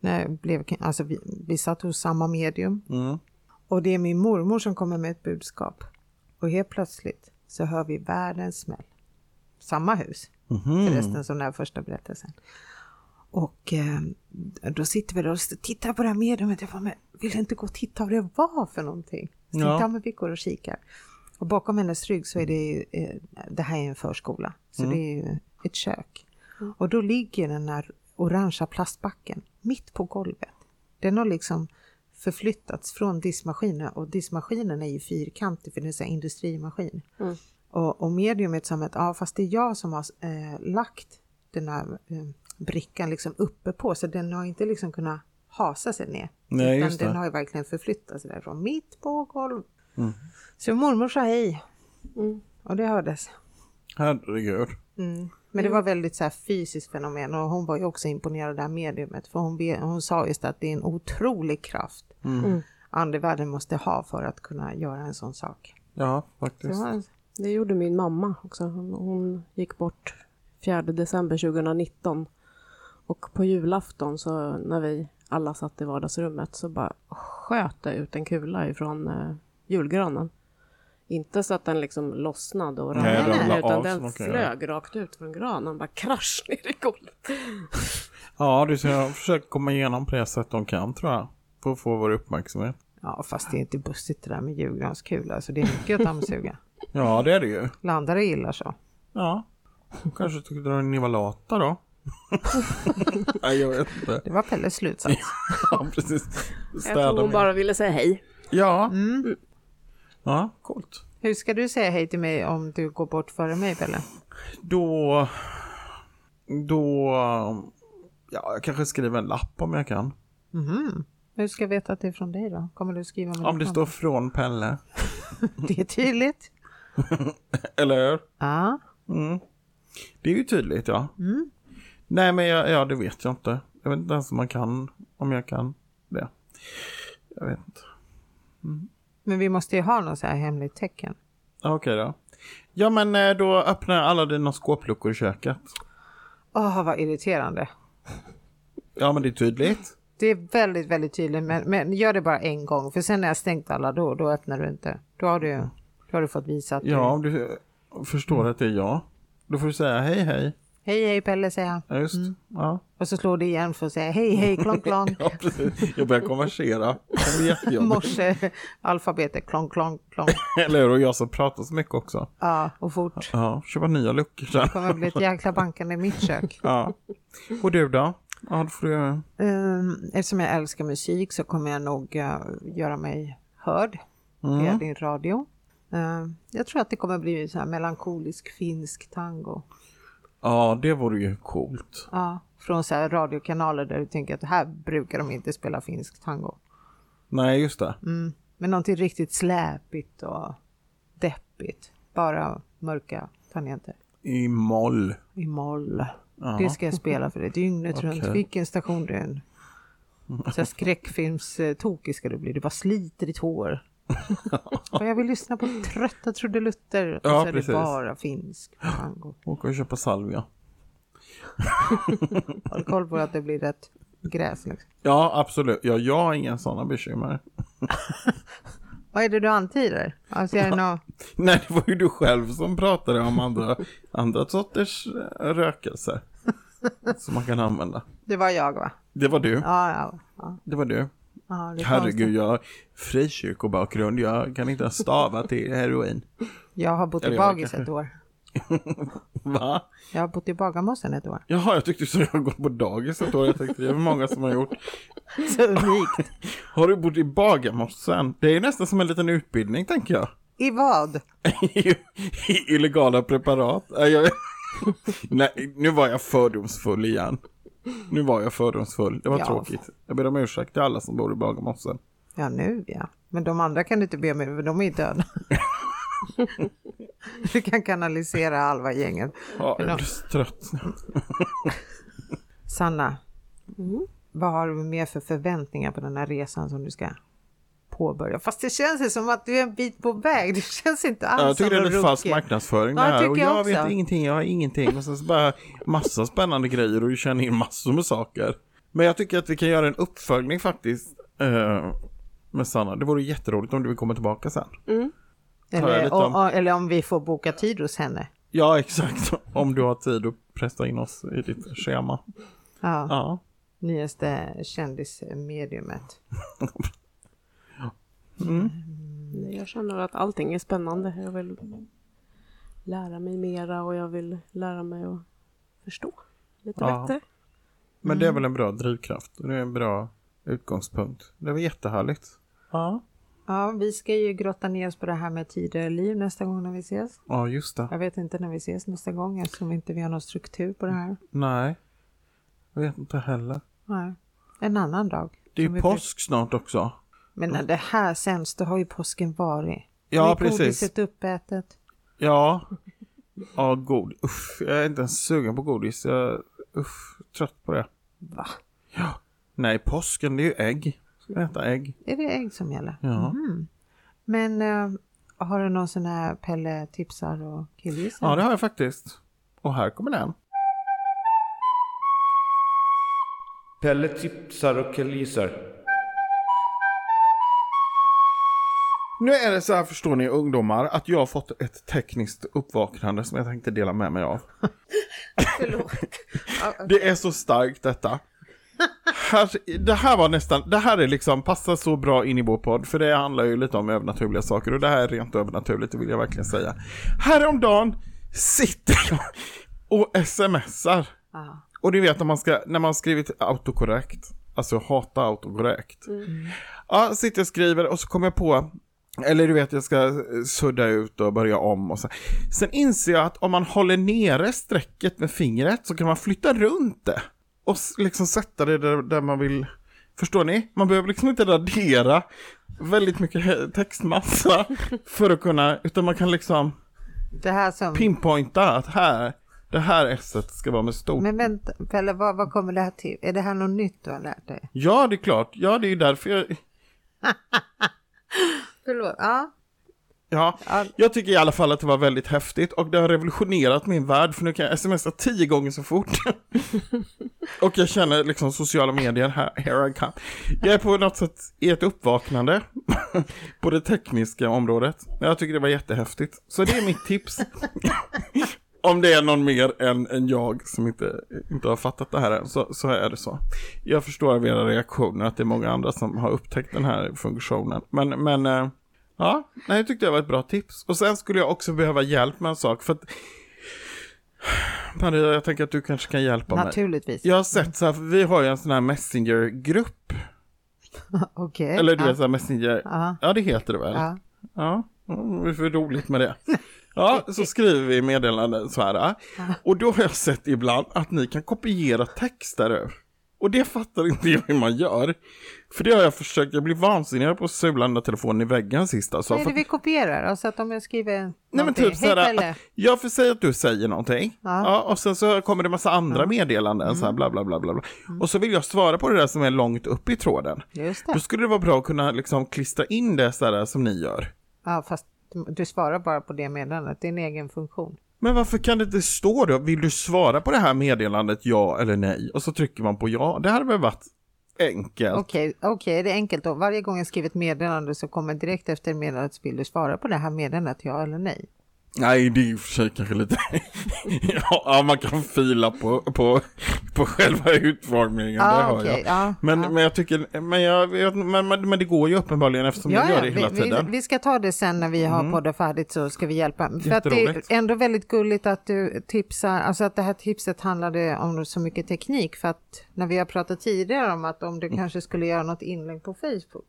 Speaker 1: när jag blev, alltså vi, vi satt hos samma medium
Speaker 2: Mm.
Speaker 1: Och det är min mormor som kommer med ett budskap. Och helt plötsligt så hör vi världens smäll. Samma hus förresten som den här första berättelsen. Och eh, då sitter vi där och s- tittar på det här mediumet. Jag bara, men vill du inte gå och titta vad det var för någonting? Så
Speaker 2: Ja.
Speaker 1: ja. men vi går och kikar. Och bakom hennes rygg så är det ju, eh, det här är en förskola. Så det är ju ett kök. Och då ligger den här orangea plastbacken mitt på golvet. Den har liksom förflyttats från diskmaskinen och diskmaskinen är ju fyrkantig för det är en sån här industrimaskin. Och, och mediumet som att, ja fast det är jag som har eh, lagt den här eh, brickan liksom uppe på så den har inte liksom kunnat hasa sig ner.
Speaker 2: Nej,
Speaker 1: utan
Speaker 2: just det. Mm.
Speaker 1: den har ju verkligen förflyttat sig därifrån, mitt på golv. Så mormor sa hej. Och det hördes.
Speaker 2: Herregud.
Speaker 1: Men det var väldigt så här fysiskt fenomen och hon var ju också imponerad av det här mediumet för hon, be- hon sa just att det är en otrolig kraft
Speaker 2: Mm.
Speaker 1: andevärlden måste ha för att kunna göra en sån sak.
Speaker 2: Ja,
Speaker 1: Det
Speaker 2: faktiskt.
Speaker 1: var en
Speaker 4: Det gjorde min mamma också. Hon, hon gick bort 4 december 2019. Och på julafton så när vi alla satt i vardagsrummet så bara sköt det ut en kula ifrån eh, julgranen. Inte så att den liksom lossnade och
Speaker 2: Nej,
Speaker 4: ramlade
Speaker 1: den
Speaker 4: ner,
Speaker 2: la
Speaker 4: utan
Speaker 2: av som
Speaker 4: den
Speaker 2: man kan göra.
Speaker 4: flög rakt ut från granen. Bara krasch ner i golvet.
Speaker 2: Ja, du ser, jag försöker komma igenom på det sätt de kan tror jag. För att få vår uppmärksamhet.
Speaker 1: Ja, fast det är inte bussigt det där med julgranskula. Alltså det är mycket att dammsuga.
Speaker 2: Ja, det är det ju.
Speaker 1: Landar det illa så.
Speaker 2: Ja. Kanske tyckte de ni var lata då? Nej, jag vet inte.
Speaker 1: Det var Pelles slutsats.
Speaker 2: Ja, precis.
Speaker 4: Jag tror
Speaker 2: Städa
Speaker 4: hon
Speaker 2: bara...
Speaker 4: bara ville säga hej.
Speaker 2: Ja.
Speaker 1: Mm.
Speaker 2: Ja, coolt.
Speaker 1: Hur ska du säga hej till mig om du går bort före mig, Pelle?
Speaker 2: Då... Då... Ja, jag kanske skriver en lapp om jag kan.
Speaker 1: Hur ska jag veta att det är från dig då? Kommer du skriva med
Speaker 2: Om det
Speaker 1: ditt
Speaker 2: står från Pelle.
Speaker 1: namn? Det är tydligt.
Speaker 2: Eller hur?
Speaker 1: Ja.
Speaker 2: Det är ju tydligt, ja. Nej, men jag, ja, det vet jag inte. Jag vet inte ens om man kan, om jag kan det. Jag vet inte.
Speaker 1: Men vi måste ju ha något så här hemligt tecken.
Speaker 2: Ja, Okej då. Ja, men eh, då öppnar jag alla dina skåpluckor i köket.
Speaker 1: Åh, vad irriterande.
Speaker 2: Ja, men det är tydligt.
Speaker 1: Det är väldigt, väldigt tydligt, men, men gör det bara en gång. För sen när jag stängt alla då, då öppnar du inte. Då har du, då har du fått visa att
Speaker 2: Ja, om du eh, förstår att det är jag. Då får du säga hej, hej.
Speaker 1: du... Hej, hej Pelle, säger jag.
Speaker 2: Ja, just. Ja.
Speaker 1: Och så slår du igen för att säga hej, hej, klonk, klonk.
Speaker 2: ja, precis. Jag börjar konversera. Det blir jättejobbigt.
Speaker 1: morse alfabetet klonk, klonk, klonk.
Speaker 2: Eller hur? Och jag som pratar så mycket också.
Speaker 1: Ja, och fort.
Speaker 2: Ja, köpa nya luckor sen.
Speaker 1: Det kommer bli ett jäkla bankande i mitt kök.
Speaker 2: Ja. Och du då? Ja, då får du...
Speaker 1: Ehm, Eftersom jag älskar musik så kommer jag nog eh, göra mig hörd via din radio. Ehm, jag tror att det kommer bli så här melankolisk finsk tango.
Speaker 2: Ja, det vore ju coolt.
Speaker 1: Ja, från så här radiokanaler där du tänker att här brukar de inte spela finsk tango.
Speaker 2: Nej, just det.
Speaker 1: Mm. Men någonting riktigt släpigt och deppigt. Bara mörka tangenter.
Speaker 2: I moll.
Speaker 1: i moll. Det ska jag spela för dig dygnet runt, vilken station det än. Så här skräckfilmstokig ska du bli, du bara sliter ditt hår. Och jag vill lyssna på trötta trudelutter och
Speaker 2: Ja,
Speaker 1: så är
Speaker 2: precis.
Speaker 1: det bara finsk tango.
Speaker 2: Åka och köpa salvia.
Speaker 1: Har du koll på att det blir rätt gräs? Liksom?
Speaker 2: Ja, absolut. Ja, jag har inga sådana bekymmer.
Speaker 1: Vad är det du antyder? Alltså, är det nå-
Speaker 2: Nej, det var ju du själv som pratade om andra, andra sorters eh, rökelse. Som man kan använda.
Speaker 1: det var jag va?
Speaker 2: Det var du.
Speaker 1: Ja, ja. ja.
Speaker 2: Det var du.
Speaker 1: ja det är
Speaker 2: Herregud,
Speaker 1: konstigt.
Speaker 2: jag har frikyrkobakgrund. Jag kan inte ens stava till heroin.
Speaker 1: Jag har bott i
Speaker 2: Eller jag
Speaker 1: bagis
Speaker 2: kanske.
Speaker 1: ett år.
Speaker 2: Va?
Speaker 1: Jag har bott i Bagarmossen ett år.
Speaker 2: Jaha, jag tyckte så jag har gått på dagis ett år. Jag tänkte det är väl många som har gjort.
Speaker 1: Så unikt.
Speaker 2: Har du bott i Bagarmossen? Det är nästan som en liten utbildning, tänker jag.
Speaker 1: I vad?
Speaker 2: I, i illegala preparat. Nej, jag, nej, nu var jag fördomsfull igen. Nu var jag fördomsfull. Det var
Speaker 1: Ja,
Speaker 2: tråkigt. Jag ber om ursäkt till alla som bor i Bagarmossen.
Speaker 1: Ja, nu ja. Men de andra kan du inte be om för de är ju döda. du kan kanalisera halva gänget.
Speaker 2: Ja, jag
Speaker 1: Ja.
Speaker 2: är så trött.
Speaker 1: Sanna, vad har du mer för förväntningar på den här resan som du ska påbörja? Fast det känns ju som att du är en bit på väg. Det känns inte alls
Speaker 2: Ja, jag tycker det är
Speaker 1: som
Speaker 2: lite
Speaker 1: någon
Speaker 2: falsk
Speaker 1: rookie.
Speaker 2: marknadsföring
Speaker 1: Ja,
Speaker 2: det
Speaker 1: jag
Speaker 2: här.
Speaker 1: tycker
Speaker 2: Och
Speaker 1: jag
Speaker 2: jag
Speaker 1: också.
Speaker 2: vet ingenting, jag har ingenting. Och sen så bara massa spännande grejer och du känner in massor med saker. Men jag tycker att vi kan göra en uppföljning faktiskt. eh, Med Sanna, det vore jätteroligt om du vill komma tillbaka sen. Tar jag
Speaker 1: Eller,
Speaker 2: lite
Speaker 1: om...
Speaker 2: om-
Speaker 1: eller om vi får boka tid hos henne.
Speaker 2: Ja, exakt. Om du har tid att pressa in oss i ditt schema.
Speaker 1: Ja,
Speaker 2: Ja.
Speaker 1: Nyaste kändismediumet.
Speaker 4: Jag känner att allting är spännande. Jag vill lära mig mera och jag vill lära mig att förstå lite
Speaker 2: Ja.
Speaker 4: bättre.
Speaker 2: Men
Speaker 1: Mm.
Speaker 2: det är väl en bra drivkraft. Det är en bra utgångspunkt. Det var jättehärligt. Ja.
Speaker 1: Ja, vi ska ju grotta ner oss på det här med tidigare liv nästa gång när vi ses.
Speaker 2: Ja, just det.
Speaker 1: Jag vet inte när vi ses nästa gång eftersom inte vi har någon struktur på det här.
Speaker 2: Nej. Jag vet inte heller.
Speaker 1: Nej. En annan dag.
Speaker 2: Det är
Speaker 1: Som vi
Speaker 2: ju påsk snart också.
Speaker 1: brukar- Men när det här sänds, då har ju påsken varit.
Speaker 2: Ja,
Speaker 1: Med
Speaker 2: precis.
Speaker 1: godiset uppätet.
Speaker 2: Ja. Ja, god. Uff, jag är inte ens sugen på godis. Jag är uff, trött på det.
Speaker 1: Va?
Speaker 2: Ja. Nej, påsken det är ju ägg. Ska vi äta ägg?
Speaker 1: Är det ägg som gäller? Mhm.
Speaker 2: Ja.
Speaker 1: Men eh, har du någon sån här Pelle tipsar och killgissar?
Speaker 2: Ja, det har jag faktiskt. Och här kommer den.
Speaker 5: Pelle tipsar och killgissar.
Speaker 2: Nu är det så här förstår ni ungdomar att jag har fått ett tekniskt uppvaknande som jag tänkte dela med mig av. Det är så starkt detta. Här, det här var nästan, det här är liksom, passar så bra in i vår podd, för det handlar ju lite om övernaturliga saker och det här är rent övernaturligt, det vill jag verkligen säga. Häromdagen sitter jag och smsar.
Speaker 1: Ja.
Speaker 2: Och du vet när man, ska, när man skrivit autokorrekt, alltså hata autokorrekt. Ja, sitter och skriver och så kommer jag på, eller du vet jag ska eh, sudda ut och börja om och så. Sen inser jag att om man håller nere strecket med fingret så kan man flytta runt det. Och s- liksom sätta det där, där man vill. Förstår ni? Man behöver liksom inte radera väldigt mycket he- textmassa för att kunna, utan man kan liksom
Speaker 1: Det här som...
Speaker 2: pinpointa att här, det här s ska vara med stort.
Speaker 1: Men vänta, Pelle, vad, vad kommer det här till? Är det här något nytt du har lärt dig?
Speaker 2: Ja, det är klart. Ja, det är ju därför jag...
Speaker 1: Förlåt. Ja.
Speaker 2: Ja, jag tycker i alla fall att det var väldigt häftigt och det har revolutionerat min värld för nu kan jag smsa tio gånger så fort. och jag känner liksom sociala medier, här, here I come. Jag är på något sätt i ett uppvaknande på det tekniska området. Men jag tycker det var jättehäftigt. Så det är mitt tips. Om det är någon mer än, än jag som inte, inte har fattat det här än, så, så är det så. Jag förstår av era reaktioner att det är många andra som har upptäckt den här funktionen. Men, men eh, ja, nej, jag tyckte det var ett bra tips. Och sen skulle jag också behöva hjälp med en sak. För att, Maria, jag tänker att du kanske kan hjälpa mig.
Speaker 1: Naturligtvis.
Speaker 2: Jag har sett så här, för vi har ju en sån här Messenger-grupp.
Speaker 1: Okej.
Speaker 2: Eller du
Speaker 1: ja.
Speaker 2: vet, så här Messenger.
Speaker 1: Ja.
Speaker 2: Ja, det heter det väl?
Speaker 1: Ja.
Speaker 2: Ja, mm, det är för roligt med det. Ja, så skriver vi meddelanden så här. Och då har jag sett ibland att ni kan kopiera texter ur. Och det fattar inte jag hur man gör. För det har jag försökt, jag blir vansinnig jag höll på att sula den där telefonen i väggen sist alltså.
Speaker 1: Vad är
Speaker 2: För-
Speaker 1: det vi kopierar? Alltså att om jag skriver
Speaker 2: Nej men typ
Speaker 1: Hej
Speaker 2: såhär,
Speaker 1: Pelle!
Speaker 2: jag får säga att du säger någonting.
Speaker 1: Ja. Mm.
Speaker 2: Ja. och sen så kommer det massa andra meddelanden, så här bla bla bla bla. bla. Och så vill jag svara på det där som är långt upp i tråden.
Speaker 1: Just
Speaker 2: Då
Speaker 1: det.
Speaker 2: skulle det vara bra att kunna liksom klistra in det sådär som ni gör.
Speaker 1: Ja, fast du svarar bara på det meddelandet. Det är en egen funktion.
Speaker 2: Men varför kan det inte stå då? Vill du svara på det här meddelandet ja eller nej? Och så trycker man på ja. Det hade väl varit enkelt.
Speaker 1: Okej, okej, det är enkelt då. Varje gång jag skriver ett meddelande så kommer direkt efter meddelandet vill du svara på det här meddelandet ja eller nej.
Speaker 2: Nej, det är i och för sig kanske lite... ja, man kan fila på, på, på själva utformningen, det
Speaker 1: Ja,
Speaker 2: hör
Speaker 1: Ah, okej,
Speaker 2: jag.
Speaker 1: ja,
Speaker 2: men,
Speaker 1: ja.
Speaker 2: men jag tycker, men, jag, vet- men, men, men det går ju uppenbarligen eftersom det gör det hela
Speaker 1: vi,
Speaker 2: tiden. Mm.
Speaker 1: Vi, vi ska ta det sen när vi har poddat färdigt så ska vi hjälpa. För att det är
Speaker 2: Jätteroligt.
Speaker 1: ändå väldigt gulligt att du tipsar, alltså att det här tipset handlade om så mycket teknik för att när vi har pratat tidigare om att om du kanske skulle göra något inlägg på Facebook.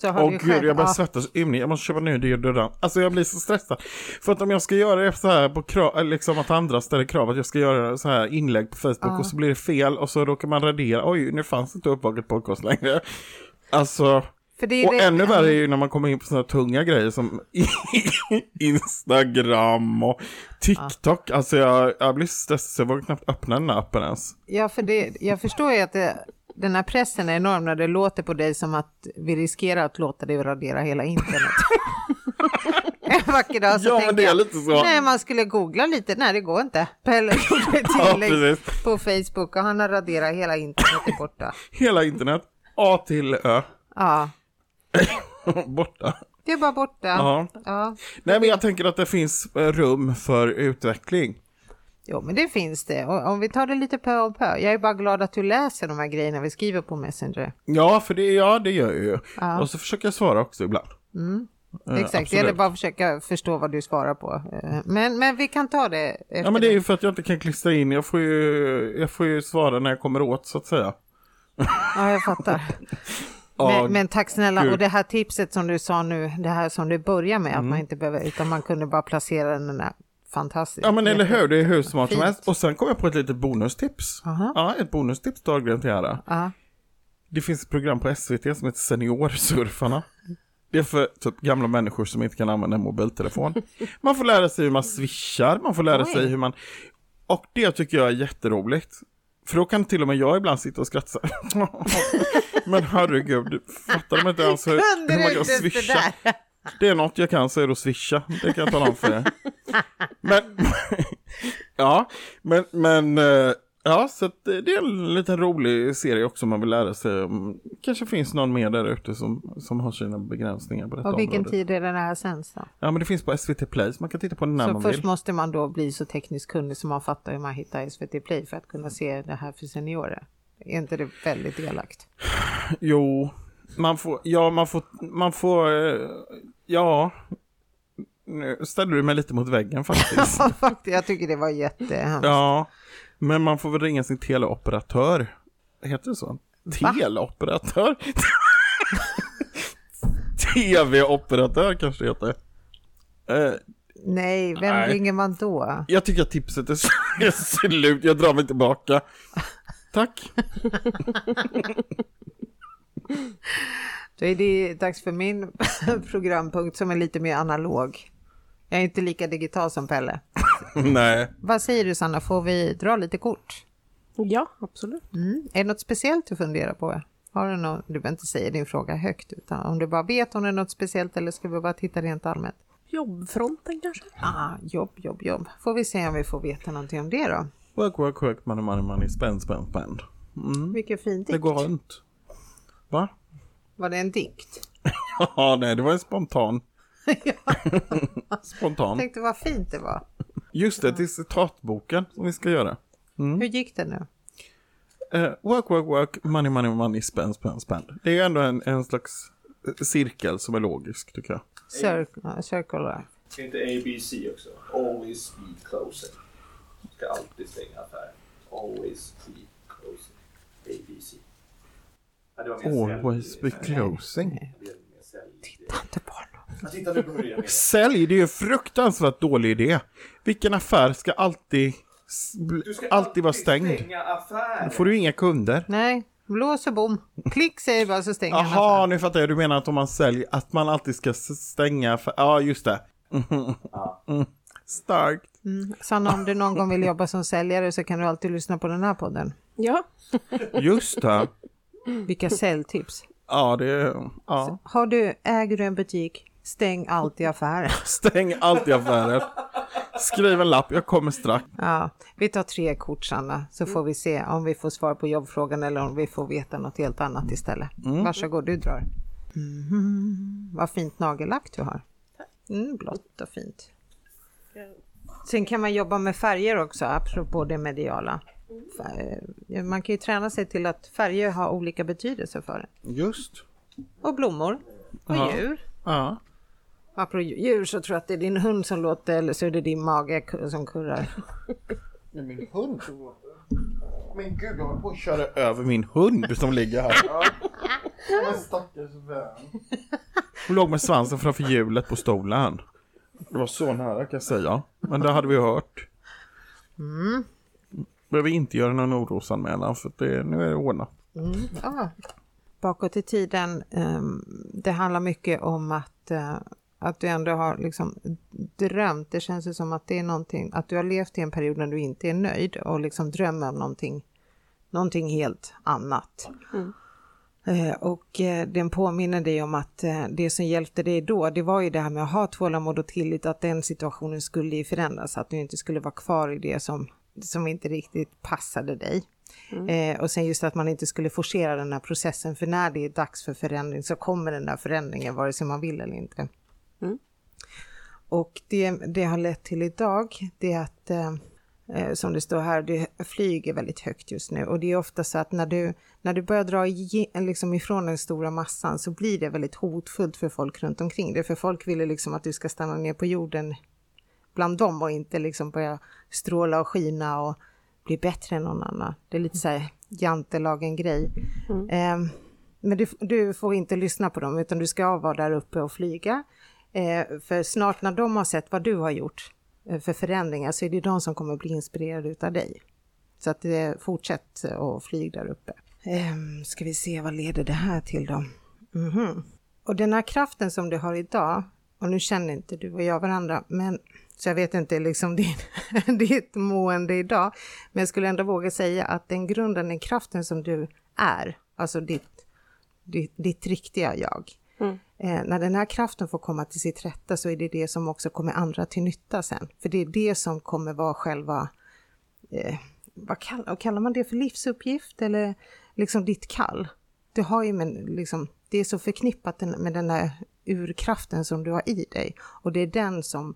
Speaker 1: Så har
Speaker 2: Mm. Åh
Speaker 1: du ju
Speaker 2: gud,
Speaker 1: själv-
Speaker 2: jag börjar
Speaker 1: ja.
Speaker 2: svettas så ymnigt. Jag måste köpa ny deodorant. Alltså jag blir så stressad. För att om jag ska göra det så här på krav, liksom att andra ställer krav att jag ska göra så här inlägg på Facebook och så blir det fel och så råkar man radera. Oj, nu fanns inte uppvaket podcast längre. Alltså,
Speaker 1: För det är
Speaker 2: och
Speaker 1: det-
Speaker 2: ännu värre är ju när man kommer in på sådana tunga grejer som Instagram och TikTok. Alltså jag, jag blir så stressad så jag vågar knappt öppna den här appen ens.
Speaker 1: Ja, för det, jag förstår ju att det, den här pressen är enorm när det låter på dig som att vi riskerar att låta dig radera hela internet. En vacker dag så
Speaker 2: Ja, men
Speaker 1: tänker
Speaker 2: det är
Speaker 1: jag,
Speaker 2: lite så.
Speaker 1: nej man skulle googla lite, nej det går inte. Pelle gjorde ett
Speaker 2: Ja,
Speaker 1: tillägg
Speaker 2: precis.
Speaker 1: på Facebook och han har raderat hela internet är borta.
Speaker 2: Hela internet, A till Ö,
Speaker 1: Ja,
Speaker 2: borta.
Speaker 1: det är bara borta.
Speaker 2: Ja.
Speaker 1: Ja.
Speaker 2: Nej men jag tänker att det finns eh, rum för utveckling.
Speaker 1: Jo, men det finns det. Och om vi tar det lite pö om pö. Jag är bara glad att du läser de här grejerna vi skriver på Messenger.
Speaker 2: Ja, för det, ja, det gör jag ju. Och så försöker jag svara också ibland. Eh,
Speaker 1: Exakt, det
Speaker 2: absolut.
Speaker 1: gäller bara att försöka förstå vad du svarar på. Eh, Men, men vi kan ta det efter.
Speaker 2: Ja men det är ju för att jag inte kan klistra in, jag får ju, jag får ju svara när jag kommer åt så att säga.
Speaker 1: ja jag fattar.
Speaker 2: Ja,
Speaker 1: Men, men tack snälla,
Speaker 2: gud. Mm.
Speaker 1: och det här tipset som du sa nu, det här som du börjar med, att man inte behöver, utan man kunde bara placera den där fantastiskt.
Speaker 2: Ja men eller hur, det är hur smart som
Speaker 1: Fint.
Speaker 2: helst. Och sen kom jag på ett litet bonustips.
Speaker 1: Aha.
Speaker 2: Ja, ett bonustips dagligen till ära.
Speaker 1: Ja.
Speaker 2: Det finns ett program på SVT som heter Seniorsurfarna. Det är för typ, gamla människor som inte kan använda en mobiltelefon. Man får lära sig hur man swishar, man får lära
Speaker 1: Oj.
Speaker 2: sig hur man... Och det tycker jag är jätteroligt. För då kan till och med jag ibland sitta och skratta så här. Men herregud, fattar de inte ens hur,
Speaker 1: Kunde
Speaker 2: hur man
Speaker 1: du
Speaker 2: kan
Speaker 1: inte ens det
Speaker 2: swisha?
Speaker 1: där?
Speaker 2: Det är något jag kan så är det att swisha. Det kan jag tala om för er. Men, ja, men, men, eh, ja, så att det det är en liten rolig serie också om man vill lära sig. om- Kanske finns någon mer där ute som, som har sina begränsningar på detta
Speaker 1: Och vilken typ?
Speaker 2: området.
Speaker 1: tid är det här sänds då?
Speaker 2: Ja, men det finns på SVT Play, så man kan titta på den när
Speaker 1: Så
Speaker 2: man
Speaker 1: först
Speaker 2: vill.
Speaker 1: måste man då bli så tekniskt kunnig som man fattar hur man hittar SVT Play för att kunna se det här för seniorer. Är inte det väldigt elakt?
Speaker 2: Jo, man får, ja, man får, man får, eh, ja. Nu ställer du mig lite mot väggen faktiskt.
Speaker 1: Faktiskt, jag tycker det var jättehemskt.
Speaker 2: Ja, men man får väl ringa sin teleoperatör. Heter det så? Teleoperatör? TV-operatör kanske det heter. Eh,
Speaker 1: Nej, vem
Speaker 2: Nej.
Speaker 1: ringer man då?
Speaker 2: jag tycker att tipset är s- är slut, jag drar mig tillbaka. Tack.
Speaker 1: Då är det dags för min programpunkt som är lite mer analog. Jag är inte lika digital som Pelle.
Speaker 2: Nej.
Speaker 1: Vad säger du Sanna, får vi dra lite kort?
Speaker 4: Ja, absolut.
Speaker 1: Mm. Är det något speciellt du funderar på? Har du, någon, du behöver inte säga din fråga högt, utan om du bara vet om det är något speciellt eller ska vi bara titta rent allmänt?
Speaker 4: Jobbfronten kanske?
Speaker 2: Mm.
Speaker 1: Ah, jobb, jobb, jobb. Får vi se om vi får veta någonting om det då.
Speaker 2: Work, work, work, money, money, money, spend, spend, spend. Mm.
Speaker 1: Vilken fin
Speaker 2: Det
Speaker 1: dikt.
Speaker 2: går runt. Va?
Speaker 1: Var det en dikt?
Speaker 2: Ja, nej, det var en spontan. Spontan.
Speaker 1: Tänkte vad fint det var.
Speaker 2: Just det, det är citatboken som vi ska göra. Mm.
Speaker 1: Hur gick det nu?
Speaker 2: Eh, work, work, work, money, money, money, spend, spend, spend. Det är ju ändå en, en slags eh, cirkel som är logisk tycker jag.
Speaker 1: Circle, ja, circle life.
Speaker 3: Ska inte ABC också? Always be closer. Ska alltid stänga affären. Always be closer. ABC. Ja, det var mer sälj.
Speaker 2: Always be closing.
Speaker 3: Det är mer sälj.
Speaker 1: Tante Barn.
Speaker 3: Ja, Titta nu börjar jag med.
Speaker 2: Sälj, det är ju en fruktansvärt dålig idé. Vilken affär ska alltid, s- bl-
Speaker 3: Du ska
Speaker 2: alltid vara stängd?
Speaker 3: stänga affären.
Speaker 2: Då får du inga kunder.
Speaker 1: Nej, blås och bom. Klick säger bara så stänger han
Speaker 2: Jaha, nu fattar jag. Du menar att om man säljer, att man alltid ska s- stänga affär. Ja, just det. Mm. Starkt.
Speaker 1: Mm. Sanna, om du någon gång vill jobba som säljare så kan du alltid lyssna på den här podden.
Speaker 4: Ja.
Speaker 2: Just det.
Speaker 1: Vilka säljtips.
Speaker 2: Ja, det... Ja.
Speaker 1: Har du, äger du en butik, stäng alltid affären.
Speaker 2: Stäng alltid affären. Skriv en lapp, jag kommer strax.
Speaker 1: Ja, vi tar tre kort Sanna, så får vi se om vi får svar på jobbfrågan eller om vi får veta något helt annat istället. Varsågod, du drar. Mhm, Vad fint nagellack du har. Mm, blått och fint. Sen kan man jobba med färger också, apropå det mediala. Fär- Man kan ju träna sig till att färger har olika betydelse för en.
Speaker 2: Just.
Speaker 1: Och blommor. Och
Speaker 2: Ja.
Speaker 1: djur.
Speaker 2: Ja.
Speaker 1: Apropå djur så tror jag att det är din hund som låter eller så är det din mage k- som kurrar.
Speaker 2: Min hund Men gud, jag håller på att köra över min hund som ligger här.
Speaker 3: Stackars vän.
Speaker 2: Hon låg med svansen framför hjulet på stolen. Det var så nära kan jag säga. Men det hade vi hört. Mm. Behöver inte göra någon orosanmälan för att det, nu är det ordnat.
Speaker 1: Ja. Bakåt i tiden, ehm, det handlar mycket om att, eh, att du ändå har liksom drömt. Det känns ju som att det är någonting, att du har levt i en period när du inte är nöjd och liksom drömmer om någonting, någonting helt annat. Eh, Och eh, den påminner dig om att eh, det som hjälpte dig då, det var ju det här med att ha tålamod och tillit, att den situationen skulle ju förändras, att du inte skulle vara kvar i det som, som inte riktigt passade dig. Eh, och sen just att man inte skulle forcera den här processen, för när det är dags för förändring så kommer den här förändringen, vare sig man vill eller inte. Och det, det har lett till idag, det är att, eh, eh, som det står här, du flyger väldigt högt just nu. Och det är ofta så att när du, när du börjar dra ige- liksom ifrån den stora massan så blir det väldigt hotfullt för folk runt omkring dig. För folk vill ju liksom att du ska stanna ner på jorden bland dem och inte liksom börja stråla och skina och bli bättre än någon annan. Det är lite så här jantelagen-grej. Ehm, men du, du får inte lyssna på dem utan du ska vara där uppe och flyga. Eh, för snart när de har sett vad du har gjort eh, för förändringar så är det de som kommer bli inspirerade utav dig. Så att eh, fortsätt och flyg där uppe. Ehm, ska vi se vad leder det här till då? Mhm. Och den här kraften som du har idag, och nu känner inte du och jag varandra, men så jag vet inte liksom din, ditt mående idag, men jag skulle ändå våga säga att den grunden, den kraften som du är, alltså ditt, ditt, ditt riktiga jag, Eh, när den här kraften får komma till sitt rätta så är det det som också kommer andra till nytta sen. För det är det som kommer vara själva, eh, vad kallar, kallar man det för livsuppgift eller liksom ditt kall? Du har ju men, liksom, det är så förknippat den- med den här urkraften som du har i dig och det är den som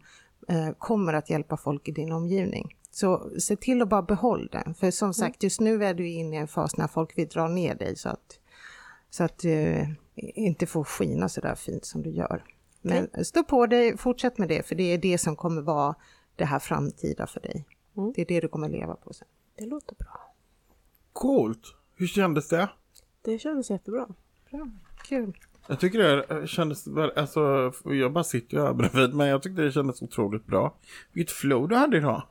Speaker 1: eh, kommer att hjälpa folk i din omgivning. Så se till att bara behålla den, för som sagt just nu är du inne i en fas när folk vill dra ner dig så att så att du inte får skina så där fint som du gör. Men stå på dig, fortsätt med det, för det är det som kommer vara det här framtida för dig. Det är det du kommer leva på sen.
Speaker 4: Det låter bra.
Speaker 2: Coolt. Hur kändes det?
Speaker 4: Det kändes jättebra.
Speaker 1: Bra, kul.
Speaker 2: Jag tycker det eh, kändes, väl- alltså jag bara sitter ju här bredvid men jag tyckte det kändes otroligt bra. Vilket flow du hade idag.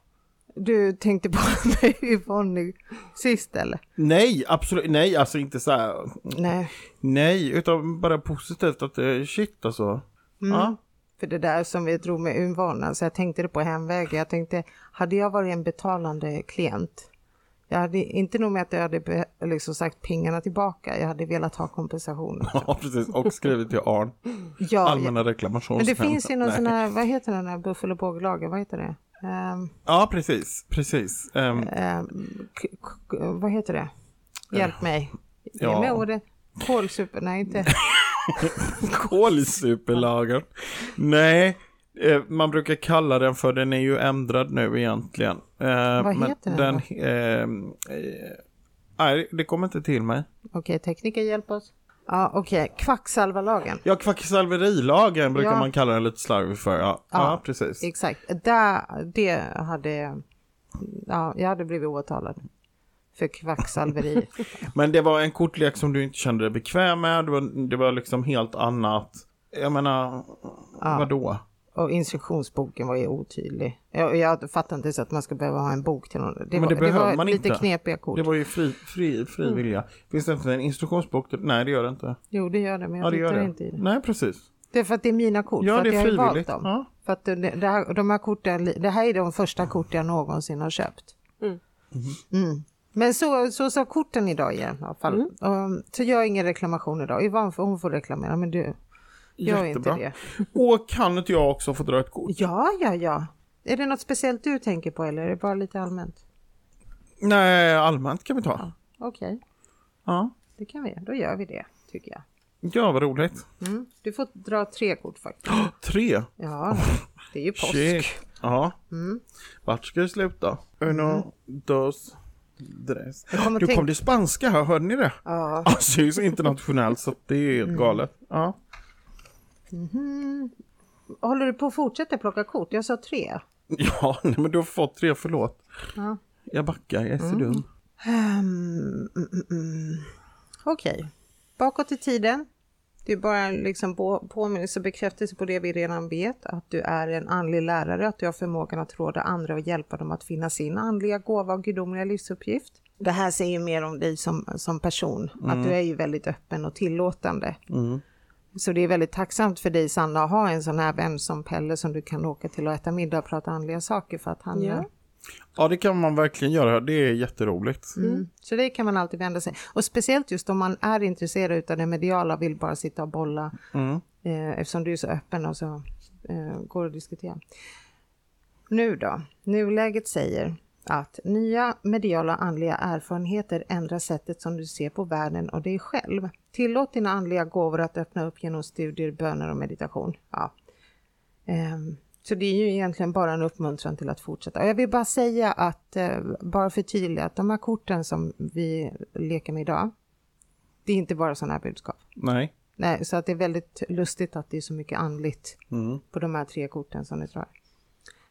Speaker 1: Du tänkte på mig Yvonne nu sist eller?
Speaker 2: Nej, absolut, nej alltså inte så här,
Speaker 1: Nej,
Speaker 2: nej utan bara positivt att eh, shit alltså.
Speaker 1: Mm.
Speaker 2: Ja.
Speaker 1: för det där som vi drog med Yvonne, så jag tänkte det på hemvägen. Jag tänkte, hade jag varit en betalande klient, jag hade inte nog med att jag hade be, liksom sagt pengarna tillbaka, jag hade velat ha kompensation.
Speaker 2: ja, precis och skrivit till Arn.
Speaker 1: Ja,
Speaker 2: Allmänna
Speaker 1: Men det
Speaker 2: reklamationsnämnden.
Speaker 1: finns ju någon
Speaker 2: Nej.
Speaker 1: sån här, vad heter den här buffel och båglagen, vad heter det? Ehm,
Speaker 2: Ja, precis, precis. Ehm,
Speaker 1: ehm, k- k- vad heter det? Hjälp mig. Ge
Speaker 2: Eh, Ja.
Speaker 1: mig ordet. Kolsuper, nej inte.
Speaker 2: Kolsuperlagen. Nej, eh, man brukar kalla den för, den är ju ändrad nu egentligen. Eh,
Speaker 1: Vad
Speaker 2: men
Speaker 1: heter den
Speaker 2: den ehm, eh, Nej, det kommer inte till mig.
Speaker 1: Okej, tekniker hjälp oss. Ja, okej, kvacksalvarlagen.
Speaker 2: Ja, kvacksalverilagen brukar
Speaker 1: Ja.
Speaker 2: man kalla den lite slarvigt för. Ja, ja.
Speaker 1: Ja.
Speaker 2: precis.
Speaker 1: Exakt, där, det hade, ja, jag hade blivit åtalad för kvacksalveri.
Speaker 2: Men det var en kortlek som du inte kände dig bekväm med. Det var, det var liksom helt annat. Jag menar, vadå?
Speaker 1: och instruktionsboken var ju otydlig. Jag, jag fattar inte så att man ska behöva ha en bok till någon. Det
Speaker 2: Men det
Speaker 1: var, det
Speaker 2: behöver
Speaker 1: var
Speaker 2: man
Speaker 1: lite
Speaker 2: inte.
Speaker 1: knepiga kort.
Speaker 2: Det var ju fri, fri, fri vilja. Finns det inte en instruktionsbok? till- Nej, det gör det inte.
Speaker 1: Jo, det gör det, men
Speaker 2: Ja,
Speaker 1: Mm. jag
Speaker 2: det
Speaker 1: tittar
Speaker 2: gör det.
Speaker 1: inte i det.
Speaker 2: Nej, precis.
Speaker 1: Det är för att det är mina kort.
Speaker 2: Ja,
Speaker 1: för att
Speaker 2: det är
Speaker 1: jag har ju
Speaker 2: frivilligt.
Speaker 1: Valt dem.
Speaker 2: Ja.
Speaker 1: För att det, det här, de här korten, det här är de första kort jag någonsin har köpt. Mm. Men så, så sa korten idag igen i alla fall. Um, så jag har ingen reklamation idag. Yvonne, får- hon får reklamera, men du, gör inte det.
Speaker 2: Och kan inte jag också få dra ett kort?
Speaker 1: Ja, ja, ja. Är det något speciellt du tänker på eller är det bara lite allmänt?
Speaker 2: Nej, allmänt kan vi ta.
Speaker 1: Okej,
Speaker 2: Ja,
Speaker 1: det kan vi. Då gör vi det, tycker jag.
Speaker 2: ja vad roligt.
Speaker 1: Mm. Du får dra tre kort faktiskt.
Speaker 2: Tre.
Speaker 1: Ja, det är ju påsk. Mm.
Speaker 2: Shit. Ja. Vart ska det sluta? Uno, dos, tres.
Speaker 1: kom och
Speaker 2: Du
Speaker 1: Mm. tänk-
Speaker 2: kom till spanska här, hörde ni det?
Speaker 1: Ja.
Speaker 2: Alltså det är ju så internationellt så att det är helt
Speaker 1: Mm.
Speaker 2: galet. Ja.
Speaker 1: Håller du på att fortsätta plocka kort? Jag sa tre.
Speaker 2: Ja, nej, men du har fått tre, förlåt.
Speaker 1: Ja. Mm.
Speaker 2: Jag backar, jag är så dum.
Speaker 1: Ehm, mm, mm, mm. Okej, bakåt i tiden. Det är bara liksom på, påminnelse och bekräftelse på det vi redan vet, att du är en andlig lärare, att du har förmågan att råda andra och hjälpa dem att finna sin andliga gåva och gudomliga livsuppgift. Det här säger mer om dig som, som person, att du är ju väldigt öppen och tillåtande. Så det är väldigt tacksamt för dig Sanna att ha en sån här vän som Pelle som du kan åka till och äta middag och prata andliga saker för att han
Speaker 4: Ja.
Speaker 2: Ja, det kan man verkligen göra. Det är jätteroligt.
Speaker 1: Mm. Så det kan man alltid vända sig. Och speciellt just om man är intresserad av det mediala vill bara sitta och bolla. Eh, eftersom du är så öppen och så eh, går att diskutera. Nu då, nuläget säger att nya mediala andliga erfarenheter ändrar sättet som du ser på världen och dig själv. Tillåt dina andliga gåvor att öppna upp genom studier, böner och meditation. Ja. Ehm, Så det är ju egentligen bara en uppmuntran till att fortsätta. Och jag vill bara säga att, eh, bara förtydliga, att de här korten som vi leker med idag, det är inte bara sådana här budskap.
Speaker 2: Nej.
Speaker 1: Nej, så att det är väldigt lustigt att det är så mycket andligt
Speaker 2: Mm.
Speaker 1: på de här tre korten som ni drar.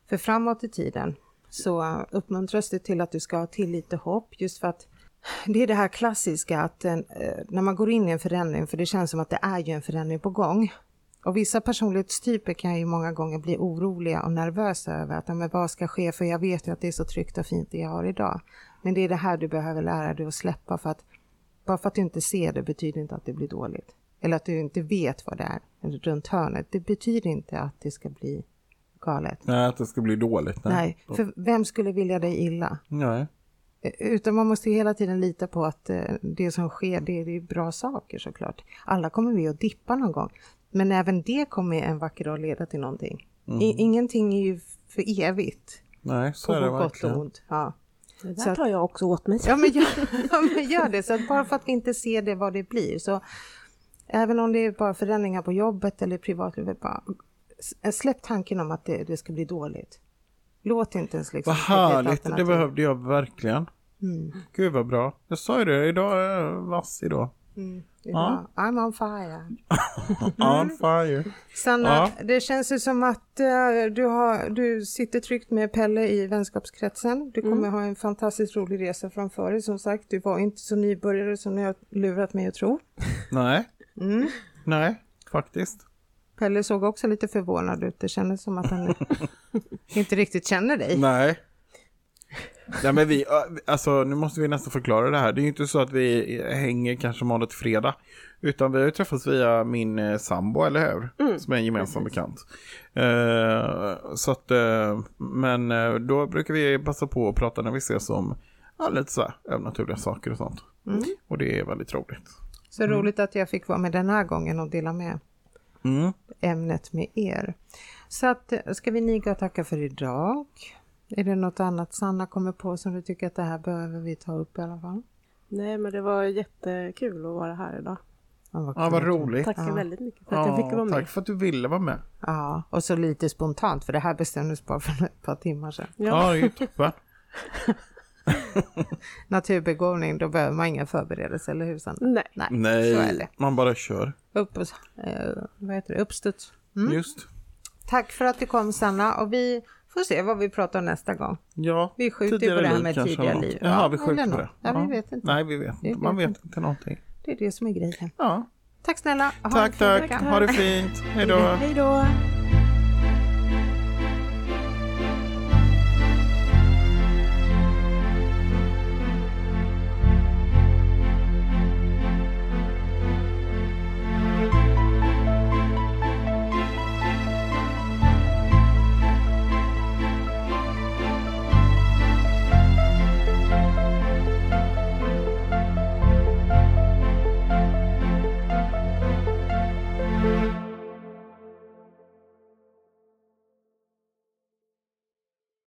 Speaker 1: För framåt i tiden så uppmuntras det till att du ska ha tillit och hopp just för att det är det här klassiska att eh, när man går in i en förändring, för det känns som att det är ju en förändring på gång. Och vissa personlighetstyper kan ju många gånger bli oroliga och nervösa över att "Ja, men vad ska ske för jag vet ju att det är så tryggt och fint det jag har idag. Men det är det här du behöver lära dig att släppa för att bara för att du inte ser det betyder inte att det blir dåligt. Eller att du inte vet vad det är runt hörnet. Det betyder inte att det ska bli galet.
Speaker 2: Nej, att det ska bli dåligt.
Speaker 1: Nej, för vem skulle vilja dig illa?
Speaker 2: Nej.
Speaker 1: Eh, Utan man måste hela tiden lita på att eh, det som sker, det det är bra saker såklart. Alla kommer vi att dippa någon gång. Men även det kommer en vacker dag leda till någonting. I, ingenting är ju för evigt.
Speaker 2: Nej, Mm. så
Speaker 1: På
Speaker 2: är det
Speaker 1: gott och
Speaker 2: verkligen.
Speaker 1: ont. Ja.
Speaker 4: Det
Speaker 1: Så
Speaker 4: där
Speaker 1: att-
Speaker 4: tar jag också åt mig.
Speaker 1: Ja men, gör, ja men gör det. Så att bara för att vi inte ser det vad det blir. Så även om det är bara förändringar på jobbet eller i privatlivet. Bara, s- släpp tanken om att det, det ska bli dåligt. Låt inte ens liksom... bli
Speaker 2: Vad
Speaker 1: ett
Speaker 2: härligt, det
Speaker 1: alternativ. Mm.
Speaker 2: behövde jag verkligen. Gud vad bra. Jag sa ju det, idag är jag vass idag.
Speaker 1: Det är bra. I'm on fire. Mm.
Speaker 2: On fire.
Speaker 1: Sanna, det känns ju som att eh, du, har, du sitter tryggt med Pelle i vänskapskretsen. Du kommer ha en fantastiskt rolig resa framför dig. Som sagt, du var inte så nybörjare som ni har lurat mig att tro.
Speaker 2: Nej.
Speaker 1: Mm.
Speaker 2: Nej, faktiskt.
Speaker 1: Pelle såg också lite förvånad ut. Det kändes som att han inte riktigt känner dig.
Speaker 2: Nej. Nej men vi, alltså nu måste vi nästan förklara det här. Det är ju inte så att vi hänger kanske måndag till fredag. Utan vi har ju träffats via min eh, sambo, eller hur?
Speaker 4: Mm.
Speaker 2: Som är en gemensam bekant. Eh, så att, eh, men eh, då brukar vi passa på att prata när vi ses om ja, lite så här övernaturliga saker och sånt.
Speaker 4: Mm.
Speaker 2: Och det är väldigt roligt.
Speaker 1: Så roligt att jag fick vara med den här gången och dela med
Speaker 2: Mm.
Speaker 1: ämnet med er. Så att, eh, ska vi niga och tacka för idag? Är det något annat Sanna kommer på som du tycker att det här behöver vi ta upp i alla fall?
Speaker 4: Nej, men det var jättekul att vara här idag.
Speaker 1: Ja, vad
Speaker 2: Ja, vad
Speaker 1: kul.
Speaker 2: roligt.
Speaker 4: Tackar
Speaker 1: Ja.
Speaker 4: väldigt mycket för att jag fick
Speaker 2: Ja,
Speaker 4: vara med.
Speaker 2: Tack för att du ville vara med.
Speaker 1: Ja, och så lite spontant för det här bestämdes bara för ett par timmar sedan.
Speaker 2: Ja,
Speaker 4: Ja.
Speaker 2: det är ju toppen.
Speaker 1: Naturbegåvning, då behöver man ingen förberedelse, eller hur Sanna?
Speaker 4: Nej.
Speaker 1: Nej, så är
Speaker 2: Nej,
Speaker 1: det.
Speaker 2: man bara kör.
Speaker 1: Upp, eh, vad heter det? Uppstuds.
Speaker 4: Mm.
Speaker 2: Just.
Speaker 1: Tack för att du kom Sanna och vi får se vad vi pratar om nästa gång.
Speaker 2: Ja,
Speaker 1: Vi skjuter
Speaker 2: tidigare
Speaker 1: på det här
Speaker 2: liv
Speaker 1: med
Speaker 2: kanske
Speaker 1: tidigare
Speaker 2: något.
Speaker 1: liv.
Speaker 2: Jaha,
Speaker 1: Ja,
Speaker 2: vi
Speaker 1: eller
Speaker 2: skjuter på
Speaker 1: något.
Speaker 2: det.
Speaker 1: Ja, vi vet inte.
Speaker 2: Nej, vi vet inte. Man vet inte någonting.
Speaker 1: Det är det som är grejen.
Speaker 2: Ja.
Speaker 1: Tack snälla. Ha en
Speaker 2: Tack,
Speaker 1: fin
Speaker 2: tack.
Speaker 1: vecka.
Speaker 2: Ha det fint. Hej då.
Speaker 4: Hej då!